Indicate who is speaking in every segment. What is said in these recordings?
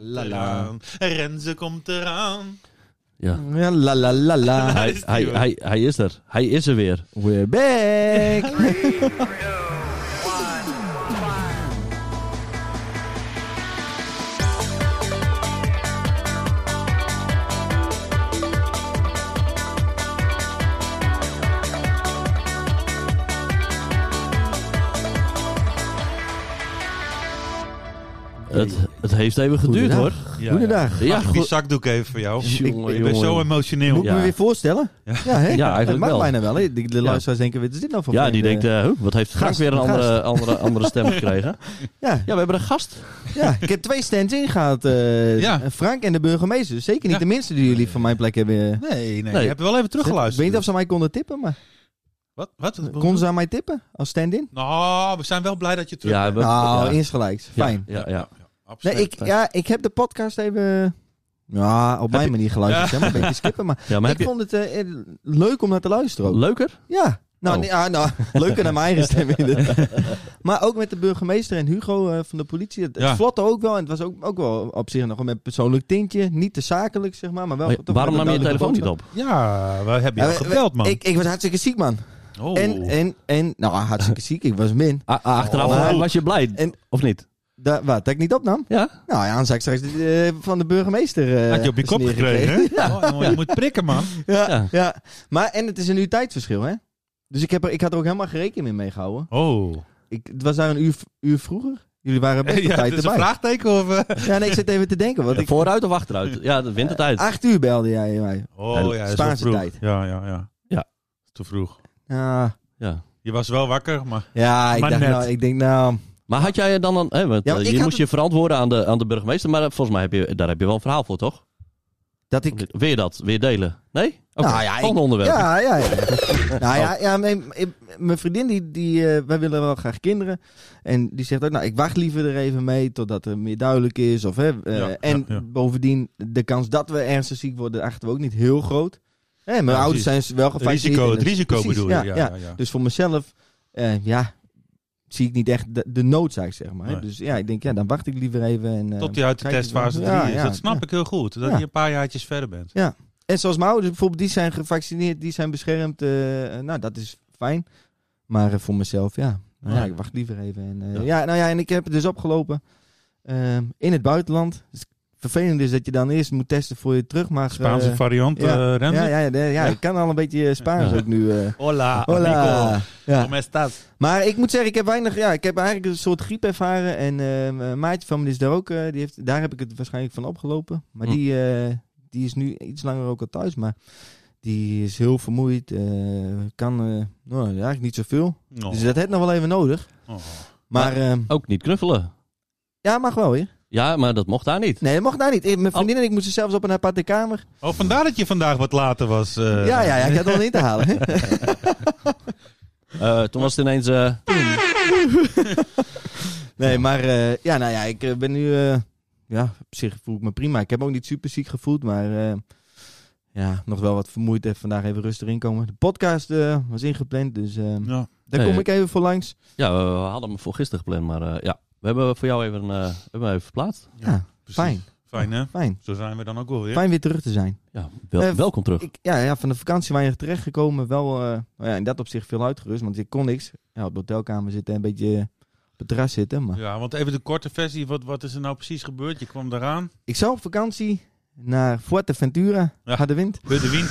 Speaker 1: La la. Renze komt eraan.
Speaker 2: Ja.
Speaker 3: Ja, la la la la.
Speaker 2: Hij,
Speaker 1: is die,
Speaker 2: hij,
Speaker 1: hoor.
Speaker 2: hij, hij is er. Hij is er weer.
Speaker 3: We're back.
Speaker 2: Het, het heeft even geduurd hoor.
Speaker 3: Goedendag.
Speaker 1: Ja,
Speaker 3: Goedendag.
Speaker 1: Ja.
Speaker 2: Ja,
Speaker 1: Mag ik die
Speaker 2: goed.
Speaker 1: zakdoek even voor jou?
Speaker 2: Jongen,
Speaker 1: ik ben
Speaker 2: jongen,
Speaker 1: zo
Speaker 2: jongen.
Speaker 1: emotioneel.
Speaker 3: Moet ik
Speaker 2: Ja.
Speaker 3: me weer voorstellen? Ja, hè?
Speaker 2: Ja, eigenlijk
Speaker 3: Dat mag
Speaker 2: wel.
Speaker 3: bijna wel. Hè? De, de luisteraars denken, wat is dit nou voor
Speaker 2: Ja, die
Speaker 3: vreemde-
Speaker 2: denkt, eh, huh, wat heeft Frank
Speaker 3: Gast,
Speaker 2: weer een
Speaker 3: gast.
Speaker 2: andere, andere, andere stem gekregen?
Speaker 3: Ja,
Speaker 2: Ja, we hebben een gast.
Speaker 3: ja, ik heb twee stands ingehaald. eh,
Speaker 1: Ja.
Speaker 3: Frank en de burgemeester. Dus Zeker niet
Speaker 1: Ja.
Speaker 3: de minste die jullie van mijn plek hebben. eh,
Speaker 1: Nee, nee.
Speaker 2: Nee.
Speaker 1: Je hebt wel even
Speaker 3: Ik
Speaker 1: teruggeluisterd.
Speaker 3: weet niet of ze aan mij konden tippen, maar
Speaker 1: Wat? Wat? Wat?
Speaker 3: konden ze aan mij tippen als stand-in?
Speaker 1: Nou, we zijn wel blij dat je terug
Speaker 2: Ja,
Speaker 1: bent.
Speaker 2: we-
Speaker 3: Nou,
Speaker 2: ja.
Speaker 3: insgelijks. Fijn.
Speaker 2: Ja, ja, ja.
Speaker 3: Nee,
Speaker 1: absoluut.
Speaker 3: ik, ja, ik heb de podcast even ja, op mijn manier geluisterd. hè, maar een beetje skippen. Maar
Speaker 2: ja maar heb
Speaker 3: ik
Speaker 2: je
Speaker 3: vond het eh, eh, leuk om naar te luisteren ook.
Speaker 2: leuker?
Speaker 3: Ja. Nou,
Speaker 2: Oh.
Speaker 3: nee, ah, nou, leuker naar mijn eigen stem inderdaad. Maar ook met de burgemeester en Hugo eh, van de politie. Het, het
Speaker 1: Ja.
Speaker 3: vlotte ook wel. En het was ook, ook wel op zich nog wel met een persoonlijk tintje. Niet te zakelijk, zeg maar. maar wel,
Speaker 2: Maar
Speaker 3: toch
Speaker 2: waarom
Speaker 3: met
Speaker 2: nam je
Speaker 3: een
Speaker 2: je telefoon niet
Speaker 3: duidelijke
Speaker 2: op?
Speaker 1: Ja, we hebben jou
Speaker 3: boodschap. Eh,
Speaker 1: gebeld, man.
Speaker 3: Ik, ik was hartstikke ziek, man.
Speaker 1: oh.
Speaker 3: En, en, en, nou, hartstikke ziek. Ik was min.
Speaker 2: A- a- achteraf
Speaker 1: Oh.
Speaker 2: eh, was je blij,
Speaker 3: Ah, En-
Speaker 2: of niet?
Speaker 3: Da, wat, dat ik niet opnam?
Speaker 2: Ja?
Speaker 3: Nou ja, dan zou ik straks eh, van de burgemeester... eh,
Speaker 1: Had je op je kop
Speaker 3: sneer
Speaker 1: gekregen, hè? Oh, jongen, je moet prikken, man.
Speaker 3: Ja,
Speaker 2: Ja.
Speaker 3: ja. maar en het is een uur tijdverschil, hè? Dus ik, heb er, ik had er ook helemaal geen rekening mee gehouden.
Speaker 1: Oh.
Speaker 3: Ik, het was daar een uur, uur vroeger. Jullie waren best op
Speaker 1: Ja,
Speaker 3: tijd
Speaker 1: het is een
Speaker 3: erbij.
Speaker 1: vraagteken of... eh?
Speaker 3: Ja, nee, ik zit even te denken. Want ik, Ah.
Speaker 2: Vooruit of achteruit? Ja, de wintertijd.
Speaker 3: acht uur belde jij mij.
Speaker 1: Oh, ja, dat is te
Speaker 3: Spaanse
Speaker 1: vroeg.
Speaker 3: tijd.
Speaker 1: Ja, ja, ja.
Speaker 2: Ja.
Speaker 1: Dat is te vroeg.
Speaker 3: Ja,
Speaker 2: Ja.
Speaker 1: Je was wel wakker, maar...
Speaker 3: ja ik,
Speaker 1: Maar
Speaker 3: dacht,
Speaker 1: net.
Speaker 3: nou, ik denk nou...
Speaker 2: Maar had jij dan een... Hè, want,
Speaker 3: Ja, maar
Speaker 2: eh,
Speaker 3: ik
Speaker 2: je
Speaker 3: had
Speaker 2: moest je
Speaker 3: het-
Speaker 2: verantwoorden aan de, aan de burgemeester, maar eh, volgens mij heb je, daar heb je wel een verhaal voor, toch?
Speaker 3: Dat
Speaker 2: Of
Speaker 3: ik...
Speaker 2: niet? Wil je dat? Wil je delen? Nee? Oké,
Speaker 3: Nou ja, ik-
Speaker 2: volgende onderwerp.
Speaker 3: Ja, ja, ja. nou
Speaker 1: Oh.
Speaker 3: ja, ja nee, ik- mijn vriendin, die, die, eh, wij willen wel graag kinderen. En die zegt ook, nou, ik wacht liever er even mee totdat er meer duidelijk is. Of, hè, eh,
Speaker 1: Ja,
Speaker 3: en
Speaker 1: ja, ja.
Speaker 3: bovendien, de kans dat we ernstig ziek worden, achten we ook niet heel groot. Hè, mijn
Speaker 1: Ja,
Speaker 3: ouders zijn wel
Speaker 1: Het
Speaker 3: gevaccineerd.
Speaker 1: risico,
Speaker 3: en
Speaker 1: het risico
Speaker 3: precies,
Speaker 1: bedoel je. Ja, ja, ja.
Speaker 3: Dus voor mezelf, eh, ja, zie ik niet echt de, de noodzaak, zeg maar. hè.
Speaker 1: Nee.
Speaker 3: Dus ja, ik denk, ja, dan wacht ik liever even. En, eh,
Speaker 1: Tot je uit de
Speaker 3: kijk eens
Speaker 1: testfase
Speaker 3: wel.
Speaker 1: 3
Speaker 3: Ja,
Speaker 1: is.
Speaker 3: ja,
Speaker 1: Dat snap
Speaker 3: ja.
Speaker 1: ik heel goed. Dat
Speaker 3: Ja.
Speaker 1: je een paar jaartjes verder bent.
Speaker 3: En zoals mijn ouders bijvoorbeeld, die zijn gevaccineerd, die zijn beschermd. eh, eh, nou, dat is fijn. Maar eh, voor mezelf, ja. Nou, ja,
Speaker 2: Ja.
Speaker 3: ik wacht liever even. En, eh,
Speaker 2: Ja.
Speaker 3: ja. nou ja, en ik heb het dus opgelopen ehm, in het buitenland. Dus vervelend is dat je dan eerst moet testen voor je terug mag. eh,
Speaker 1: Spaanse variant eh
Speaker 3: ja.
Speaker 1: Renze?
Speaker 3: ja, ja, ja, ja,
Speaker 1: Ja. Ah,
Speaker 3: ik kan al een beetje eh, Spaans
Speaker 2: Ja.
Speaker 3: ook nu. eh.
Speaker 1: Hola,
Speaker 3: Hola. Ja.
Speaker 1: Como estás?
Speaker 3: Maar ik moet zeggen, ik heb weinig. Ja, ik heb eigenlijk een soort griep ervaren. En eh, een maatje van me is daar ook. eh, die heeft, daar heb ik het waarschijnlijk van opgelopen. Maar
Speaker 2: Hm.
Speaker 3: die, eh, die is nu iets langer ook al thuis. Maar die is heel vermoeid. eh, kan eh, nou, eigenlijk niet zoveel.
Speaker 1: Oh,
Speaker 3: Dus dat heeft nog wel even nodig.
Speaker 1: oh.
Speaker 3: Maar ehm,
Speaker 2: Ook niet knuffelen.
Speaker 3: ja, mag wel weer.
Speaker 2: Ja, maar dat mocht daar niet.
Speaker 3: Nee, dat mocht daar niet. Ik- Mijn vriendin en ik moesten zelfs op een aparte kamer.
Speaker 1: Oh, vandaar dat je vandaag wat later was. eh.
Speaker 3: ja, ja, ja, ik had het al in te halen.
Speaker 2: Eh, toen was het ineens... eh,
Speaker 3: Nee, maar eh, ja, nou ja, ik eh, ben nu. eh, ja, op zich voel ik me prima. Ik heb me ook niet super ziek gevoeld, maar. eh, ja, nog wel wat vermoeid. Even vandaag even rustig inkomen. De podcast eh, was ingepland, dus eh,
Speaker 1: Ja.
Speaker 3: daar
Speaker 2: Nee.
Speaker 3: kom ik even voor langs.
Speaker 2: ja, we, we hadden hem voor gisteren gepland, maar eh, ja. We hebben voor jou even, eh, hebben we even verplaatst.
Speaker 3: Ja,
Speaker 1: precies.
Speaker 3: fijn.
Speaker 1: Fijn, hè?
Speaker 3: Fijn.
Speaker 1: Zo zijn we dan ook wel weer.
Speaker 3: Fijn weer terug te zijn.
Speaker 2: Ja, wel-
Speaker 3: Eh,
Speaker 2: welkom terug.
Speaker 3: Ik, ja, ja, van de vakantie weinig terechtgekomen. Wel eh, nou ja, in dat opzicht veel uitgerust, want ik kon niks. Ja, op de hotelkamer zitten en een beetje op het terras zitten. Maar
Speaker 1: Ja, want even de korte versie. Wat, wat is er nou precies gebeurd? Je kwam eraan.
Speaker 3: ik zou op vakantie naar Fuerteventura,
Speaker 1: Ja.
Speaker 3: harde wind.
Speaker 1: Budde wind.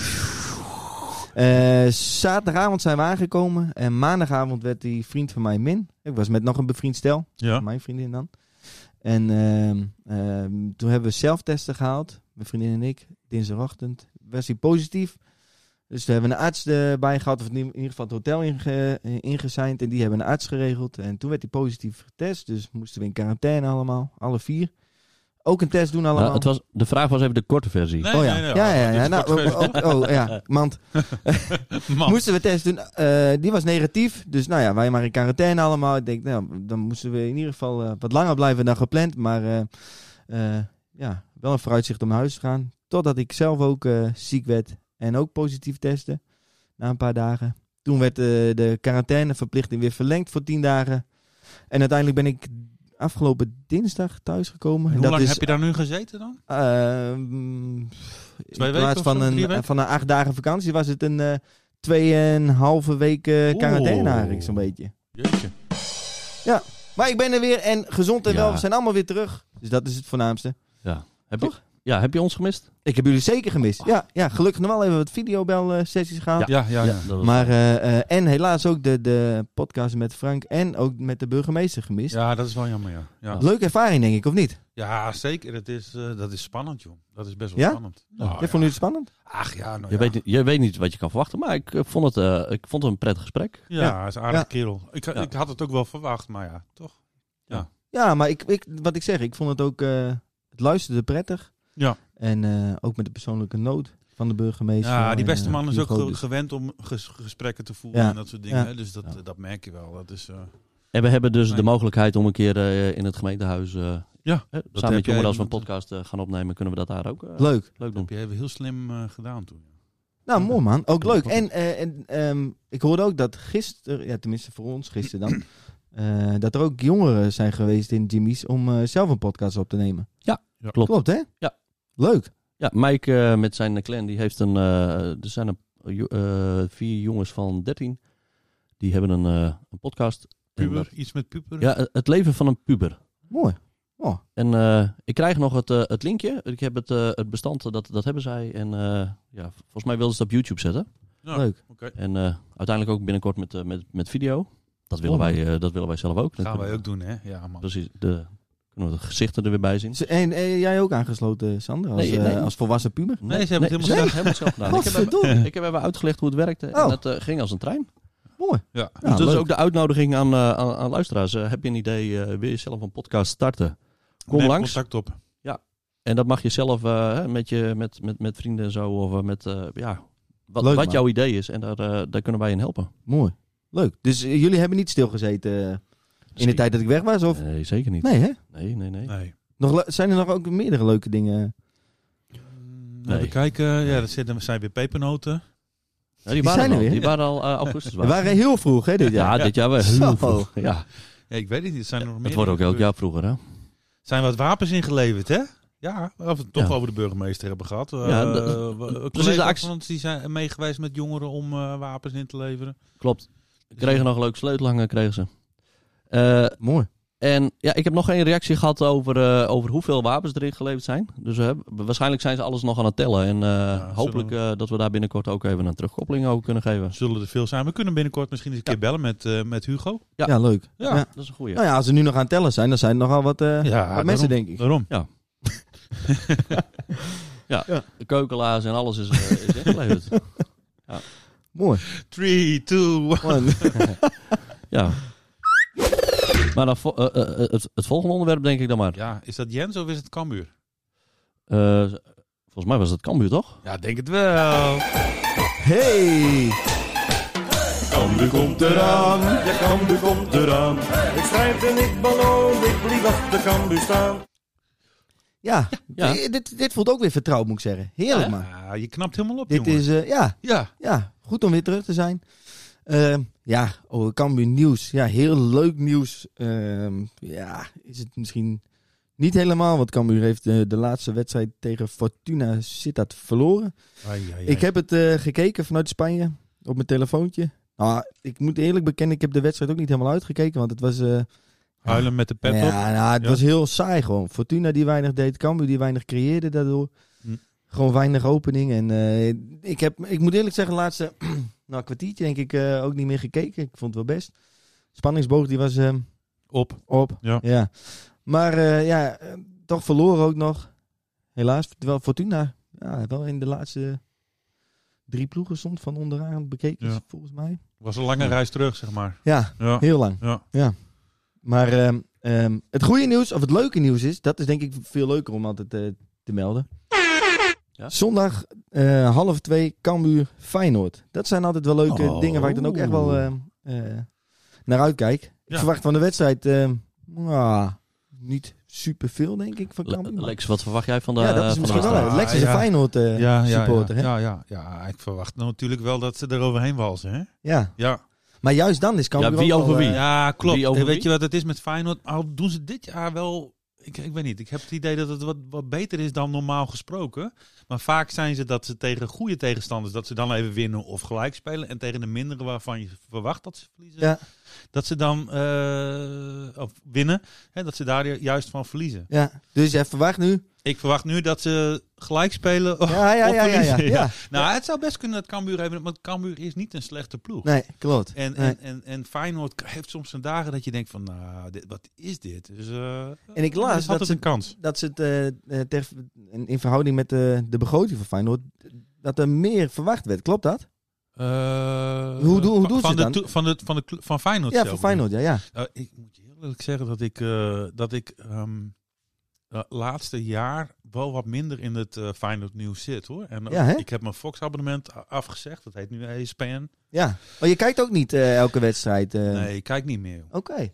Speaker 3: Eh, zaterdagavond zijn we aangekomen en maandagavond werd die vriend van mij min. Ik was met nog een bevriend stel,
Speaker 1: Ja.
Speaker 3: mijn vriendin dan. En ehm, ehm, toen hebben we zelftesten gehaald, mijn vriendin en ik, dinsdagochtend. Was hij positief. Dus toen hebben we een arts erbij gehad, of in ieder geval het hotel inge, eh, ingezeind. En die hebben een arts geregeld. En toen werd hij positief getest, dus moesten we in quarantaine allemaal, alle vier. Ook een test doen allemaal.
Speaker 2: Nou, het was, de vraag was even de korte versie.
Speaker 1: Nee,
Speaker 3: Oh ja,
Speaker 1: nee, nee.
Speaker 3: ja, ja,
Speaker 1: Dit
Speaker 3: ja.
Speaker 1: is
Speaker 3: Nou,
Speaker 1: kort versie.
Speaker 3: ook- ook- oh ja, want
Speaker 1: Man.
Speaker 3: Moesten we test doen. Eh, die was negatief. Dus nou ja, wij maar in quarantaine allemaal. Ik denk, nou, dan moesten we in ieder geval eh, wat langer blijven dan gepland. Maar eh, eh, ja, wel een vooruitzicht om naar huis te gaan. Totdat ik zelf ook eh, ziek werd en ook positief testte. Na een paar dagen. Toen werd eh, de quarantaineverplichting weer verlengd voor tien dagen. En uiteindelijk ben ik afgelopen dinsdag thuisgekomen.
Speaker 1: En
Speaker 3: En
Speaker 1: hoe
Speaker 3: dat
Speaker 1: lang
Speaker 3: is,
Speaker 1: heb je daar nu gezeten dan?
Speaker 3: ehm,
Speaker 1: Twee
Speaker 3: in
Speaker 1: weken
Speaker 3: plaats
Speaker 1: of
Speaker 3: van
Speaker 1: zo? Drie
Speaker 3: een,
Speaker 1: weken?
Speaker 3: van een acht dagen vakantie was het een eh, tweeënhalve week eh, quarantaine
Speaker 1: Oeh.
Speaker 3: eigenlijk zo'n beetje.
Speaker 1: Jeetje.
Speaker 3: Maar ik ben er weer en gezond en
Speaker 2: Ja.
Speaker 3: wel. We zijn allemaal weer terug. Dus dat is het voornaamste.
Speaker 2: Heb
Speaker 3: Toch?
Speaker 2: je, ja, heb je ons gemist?
Speaker 3: Ik heb jullie zeker gemist. Ja, ja gelukkig nog wel even wat videobel-sessies gehad.
Speaker 1: Ah. Ja, ja, ja.
Speaker 2: dat was-
Speaker 3: Maar, eh, eh, en helaas ook de, de podcast met Frank en ook met de burgemeester gemist.
Speaker 1: Ja, dat is wel jammer, ja. Ja,
Speaker 3: Leuke ervaring, denk ik, of niet?
Speaker 1: ja zeker. Het is, eh, dat is spannend, joh. Dat is best wel
Speaker 3: Ja?
Speaker 1: spannend. Nou,
Speaker 3: Jij vond je het spannend?
Speaker 1: Ach ja, nou
Speaker 2: je,
Speaker 1: ja.
Speaker 2: weet, niet- je weet niet wat je kan verwachten, maar ik, eh, vond, het, eh, ik vond het een prettig gesprek.
Speaker 1: ja,
Speaker 3: Ja.
Speaker 1: hij is een aardige
Speaker 3: Ja.
Speaker 1: kerel. Ik,
Speaker 2: Ja.
Speaker 1: ik had het ook wel verwacht, maar ja, toch?
Speaker 3: Ja, maar ik, ik, wat ik zeg, ik vond het ook, eh, het luisterde prettig.
Speaker 1: Ja.
Speaker 3: En eh, ook met de persoonlijke nood van de burgemeester.
Speaker 1: Ja, die beste
Speaker 3: En, eh,
Speaker 1: man is ook
Speaker 3: Hugo,
Speaker 1: ge-
Speaker 3: dus-
Speaker 1: gewend om ges- gesprekken te voeren
Speaker 3: Ja.
Speaker 1: en dat soort dingen.
Speaker 3: Ja.
Speaker 1: hè. Dus dat,
Speaker 2: Ja.
Speaker 1: dat merk je wel. Dat is, eh,
Speaker 2: En we hebben dus
Speaker 1: Nee.
Speaker 2: de mogelijkheid om een keer eh, in het gemeentehuis... eh,
Speaker 1: Ja,
Speaker 2: hè,
Speaker 1: heb
Speaker 2: samen met
Speaker 1: jij
Speaker 2: jongeren als we
Speaker 1: moeten-
Speaker 2: een podcast eh, gaan opnemen, kunnen we dat daar ook eh,
Speaker 3: Leuk.
Speaker 2: leuk doen.
Speaker 1: heb je even heel slim eh, gedaan toen.
Speaker 3: Nou, mooi man. Ook
Speaker 2: Ja,
Speaker 3: leuk.
Speaker 2: klopt.
Speaker 3: En, eh, en ehm, ik hoorde ook dat gisteren, ja, tenminste voor ons gisteren dan, eh, dat er ook jongeren zijn geweest in Jimmy's om eh, zelf een podcast op te nemen.
Speaker 2: Klopt.
Speaker 3: Klopt, hè?
Speaker 2: Ja.
Speaker 3: Leuk.
Speaker 2: Ja, Mike eh, met zijn clan, die heeft een. eh, er zijn een, jo- eh, vier jongens van 13. Die hebben een, eh, een podcast. En
Speaker 1: Puber, iets met puber.
Speaker 2: dat- ja, het leven van een puber.
Speaker 3: Mooi.
Speaker 2: En eh, ik krijg nog het, eh, het linkje. Ik heb het, eh, het bestand, eh, dat, dat hebben zij. En eh, ja, volgens mij wilden ze het op YouTube zetten.
Speaker 1: Ja,
Speaker 3: Leuk.
Speaker 1: Nou, Oké,
Speaker 2: En eh, uiteindelijk ook binnenkort met, eh, met, met video. Dat willen,
Speaker 3: Oh,
Speaker 2: wij, eh, dat willen wij zelf ook. Dan
Speaker 1: gaan
Speaker 2: kunnen
Speaker 1: wij
Speaker 2: we-
Speaker 1: ook doen, hè? Ja, man.
Speaker 2: Precies. De, kunnen we de gezichten er weer bij zien.
Speaker 3: Z- En, eh, jij ook aangesloten, Sander, als,
Speaker 2: Nee,
Speaker 3: eh,
Speaker 2: nee.
Speaker 3: als volwassen puber?
Speaker 1: Nee, ze hebben het helemaal zelf-
Speaker 2: ze helemaal zelf gedaan. Ik heb, even-
Speaker 3: Godverdomme.
Speaker 2: ik heb even uitgelegd hoe het werkte.
Speaker 3: Oh.
Speaker 2: En het eh, ging als een trein.
Speaker 1: Ja.
Speaker 3: Ja,
Speaker 2: dus dat is
Speaker 3: Nou, leuk.
Speaker 2: ook de uitnodiging aan, eh, aan, aan luisteraars. Eh, heb je een idee, eh, wil je zelf een podcast starten? Kom
Speaker 1: Neem
Speaker 2: langs.
Speaker 1: contact op.
Speaker 2: En dat mag je zelf eh, hè, met, je, met, met, met vrienden en zo. Of eh, met, eh, ja, wat,
Speaker 3: Leuk,
Speaker 2: wat
Speaker 3: man.
Speaker 2: jouw idee is. En daar, eh, daar kunnen wij in helpen.
Speaker 3: Mooi. Leuk. Dus eh, jullie hebben niet stilgezeten eh, in de tijd dat ik weg was? Of?
Speaker 2: Nee, zeker niet.
Speaker 3: Nee, hè?
Speaker 2: Nee, nee, nee.
Speaker 1: Nee.
Speaker 3: Nog, le- zijn er nog ook meerdere leuke dingen?
Speaker 1: Nou, Even kijken. Ja, dat zitten, zijn weer pepernoten.
Speaker 2: Ja, die waren
Speaker 3: zijn er
Speaker 2: al,
Speaker 3: weer,
Speaker 2: Die
Speaker 3: ja.
Speaker 2: waren al eh, augustus.
Speaker 3: We waren heel vroeg, hè, dit
Speaker 2: ja,
Speaker 3: jaar.
Speaker 2: dit jaar wel
Speaker 3: Zo.
Speaker 2: heel vroeg. Ja,
Speaker 1: Ja, ik weet het niet. Er Zijn er nog meer
Speaker 2: het wordt ook elk jaar vroeger, hè?
Speaker 1: Er Zijn wat wapens ingeleverd, hè? Ja, of we het toch
Speaker 2: Ja.
Speaker 1: over de burgemeester hebben gehad. Eh,
Speaker 2: Ja, dat-
Speaker 1: eh, wa-
Speaker 2: precies
Speaker 1: collega's
Speaker 2: de actie.
Speaker 1: van ons die zijn meegeweest met jongeren om eh, wapens in te leveren.
Speaker 2: Klopt. Kregen nog leuk sleutelhanger, kregen ze. Eh,
Speaker 3: Mooi.
Speaker 2: En ja, ik heb nog geen reactie gehad over, eh, over hoeveel wapens erin geleverd zijn. Dus eh, waarschijnlijk zijn ze alles nog aan het tellen. En eh, hopelijk eh, dat we daar binnenkort ook even een terugkoppeling over kunnen geven.
Speaker 1: Dus Zullen er veel zijn. We kunnen binnenkort misschien eens een keer bellen met, eh, met Hugo.
Speaker 2: Ja.
Speaker 3: Ja, leuk.
Speaker 1: Ja.
Speaker 3: Ja.
Speaker 2: Dat is een goeie.
Speaker 3: Nou ja, als ze nu nog aan het tellen zijn, dan zijn er nogal wat, eh, wat
Speaker 1: daarom.
Speaker 3: mensen, denk ik.
Speaker 1: Daarom.
Speaker 2: De keukelaars en alles is, eh, is ingeleverd.
Speaker 3: Mooi.
Speaker 1: 3, 2, 1.
Speaker 3: Man.
Speaker 2: ja. Maar dan vo- eh, eh, eh, het, het volgende onderwerp denk ik dan maar.
Speaker 1: Ja, is dat Jens of is het Cambuur?
Speaker 2: Eh, volgens mij was het Cambuur, toch?
Speaker 1: Ja, denk het wel.
Speaker 3: Hey!
Speaker 4: Cambuur komt eraan, ja Cambuur komt eraan. Ik schrijf en ik ballon, ik blijf achter Cambuur staan.
Speaker 3: Ja,
Speaker 2: Ja.
Speaker 3: Eh, Dit, dit voelt ook weer vertrouwd, moet ik zeggen. Heerlijk, man.
Speaker 1: Ja, je knapt helemaal op,
Speaker 3: Dit
Speaker 1: jongen.
Speaker 3: is, eh, ja,
Speaker 1: Ja,
Speaker 3: ja, goed om weer terug te zijn. Ehm, ja, oh, Cambuur nieuws. Ja, heel leuk nieuws. Ehm, ja, is het misschien niet helemaal, want Cambuur heeft eh, de laatste wedstrijd tegen Fortuna Sittard verloren.
Speaker 1: Ai, ai, ai.
Speaker 3: Ik heb het eh, gekeken vanuit Spanje op mijn telefoontje. Nou, ik moet eerlijk bekennen, ik heb de wedstrijd ook niet helemaal uitgekeken, want het was... eh,
Speaker 1: huilen met de pet op.
Speaker 3: ja, nou, het
Speaker 1: Ja.
Speaker 3: was heel saai gewoon. Fortuna die weinig deed, Cambuur die weinig creëerde daardoor.
Speaker 1: Hm.
Speaker 3: Gewoon weinig opening. En eh, ik, heb, ik moet eerlijk zeggen, laatste nou, kwartiertje denk ik eh, ook niet meer gekeken. Ik vond het wel best. Spanningsboog die was eh,
Speaker 1: Op.
Speaker 3: op.
Speaker 1: Ja.
Speaker 3: Maar eh, ja, eh, toch verloren ook nog. Helaas. Terwijl Fortuna ja, wel in de laatste drie ploegen stond van onderaan bekeken,
Speaker 1: Ja.
Speaker 3: volgens mij.
Speaker 1: Was een lange reis terug, zeg maar.
Speaker 3: Ja,
Speaker 1: Ja.
Speaker 3: Heel lang.
Speaker 1: Ja.
Speaker 3: Maar ehm, ehm, het goede nieuws, of het leuke nieuws is, dat is denk ik veel leuker om altijd eh, te melden.
Speaker 2: Ja?
Speaker 3: Zondag eh, half twee, Cambuur, Feyenoord. Dat zijn altijd wel leuke
Speaker 2: Oh.
Speaker 3: dingen waar ik dan ook echt wel ehm, eh, naar uitkijk. Ik
Speaker 1: Ja.
Speaker 3: verwacht van de wedstrijd ehm, nou, niet superveel, denk ik, van
Speaker 2: Le-
Speaker 3: Cambuur. maar-
Speaker 2: Lex, wat verwacht jij van de
Speaker 3: ja, dat
Speaker 2: van
Speaker 3: is
Speaker 1: eh,
Speaker 2: de
Speaker 3: misschien wel
Speaker 2: wedstrijd?
Speaker 3: leuk. Lex is een
Speaker 1: Ah, Ja.
Speaker 3: Feyenoord eh,
Speaker 1: ja, ja,
Speaker 3: supporter,
Speaker 1: ja, Ah,
Speaker 3: hè?
Speaker 1: ja, ja, ja. ik verwacht natuurlijk wel dat ze er overheen walsen, hè?
Speaker 3: Ja.
Speaker 1: Ja.
Speaker 3: Maar juist dan is Cambuur
Speaker 2: Ja, wie
Speaker 3: ook
Speaker 2: over
Speaker 3: wel,
Speaker 2: wie?
Speaker 3: eh,
Speaker 1: Ja, klopt.
Speaker 2: Wie over
Speaker 1: En weet
Speaker 2: wie?
Speaker 1: je wat het is met Feyenoord? Al doen ze dit jaar wel... Ik, ik weet niet. Ik heb het idee dat het wat, wat beter is dan normaal gesproken. Maar vaak zijn ze dat ze tegen goede tegenstanders... dat ze dan even winnen of gelijk spelen. En tegen de mindere waarvan je verwacht dat ze verliezen...
Speaker 3: Ja.
Speaker 1: dat ze dan eh, of winnen. Hè, dat ze daar ju- juist van verliezen.
Speaker 3: ja. Dus je verwacht nu.
Speaker 1: Ik verwacht nu dat ze gelijk spelen of,
Speaker 3: Ja, ja,
Speaker 1: of
Speaker 3: ja, ja, ja,
Speaker 1: verliezen.
Speaker 3: ja.
Speaker 1: Nou, het zou best kunnen dat Cambuur even... Want Cambuur is niet een slechte ploeg.
Speaker 3: Nee, klopt.
Speaker 1: En,
Speaker 3: Nee.
Speaker 1: en, en, en Feyenoord k- heeft soms zijn dagen dat je denkt van, nou, dit, wat is dit? Dus, eh,
Speaker 3: En ik
Speaker 1: er
Speaker 3: las
Speaker 1: is altijd
Speaker 3: dat ze-
Speaker 1: een kans.
Speaker 3: Dat ze het eh, eh, ter- in, in verhouding met eh, de, de begroting van Feyenoord. dat er meer verwacht werd. Klopt dat? Hoe doen- hoe
Speaker 1: van-
Speaker 3: doen ze
Speaker 1: van de
Speaker 3: dan?
Speaker 1: toe- Van, de, van, de, cl- van Feyenoord
Speaker 3: Ja,
Speaker 1: zelf.
Speaker 3: voor Feyenoord, ja. ja.
Speaker 1: Nou, ik moet je heel eerlijk zeggen dat ik, eh, dat ik ehm, eh, laatste jaar wel wat minder in het eh, Feyenoord nieuws zit, hoor. En ook-
Speaker 3: Ja, hè?
Speaker 1: ik heb mijn Fox abonnement a- afgezegd, dat heet nu E ESPN.
Speaker 3: ja. Maar je kijkt ook niet eh, elke wedstrijd. eh.
Speaker 1: Nee, ik kijk niet meer. joh.
Speaker 3: Oké.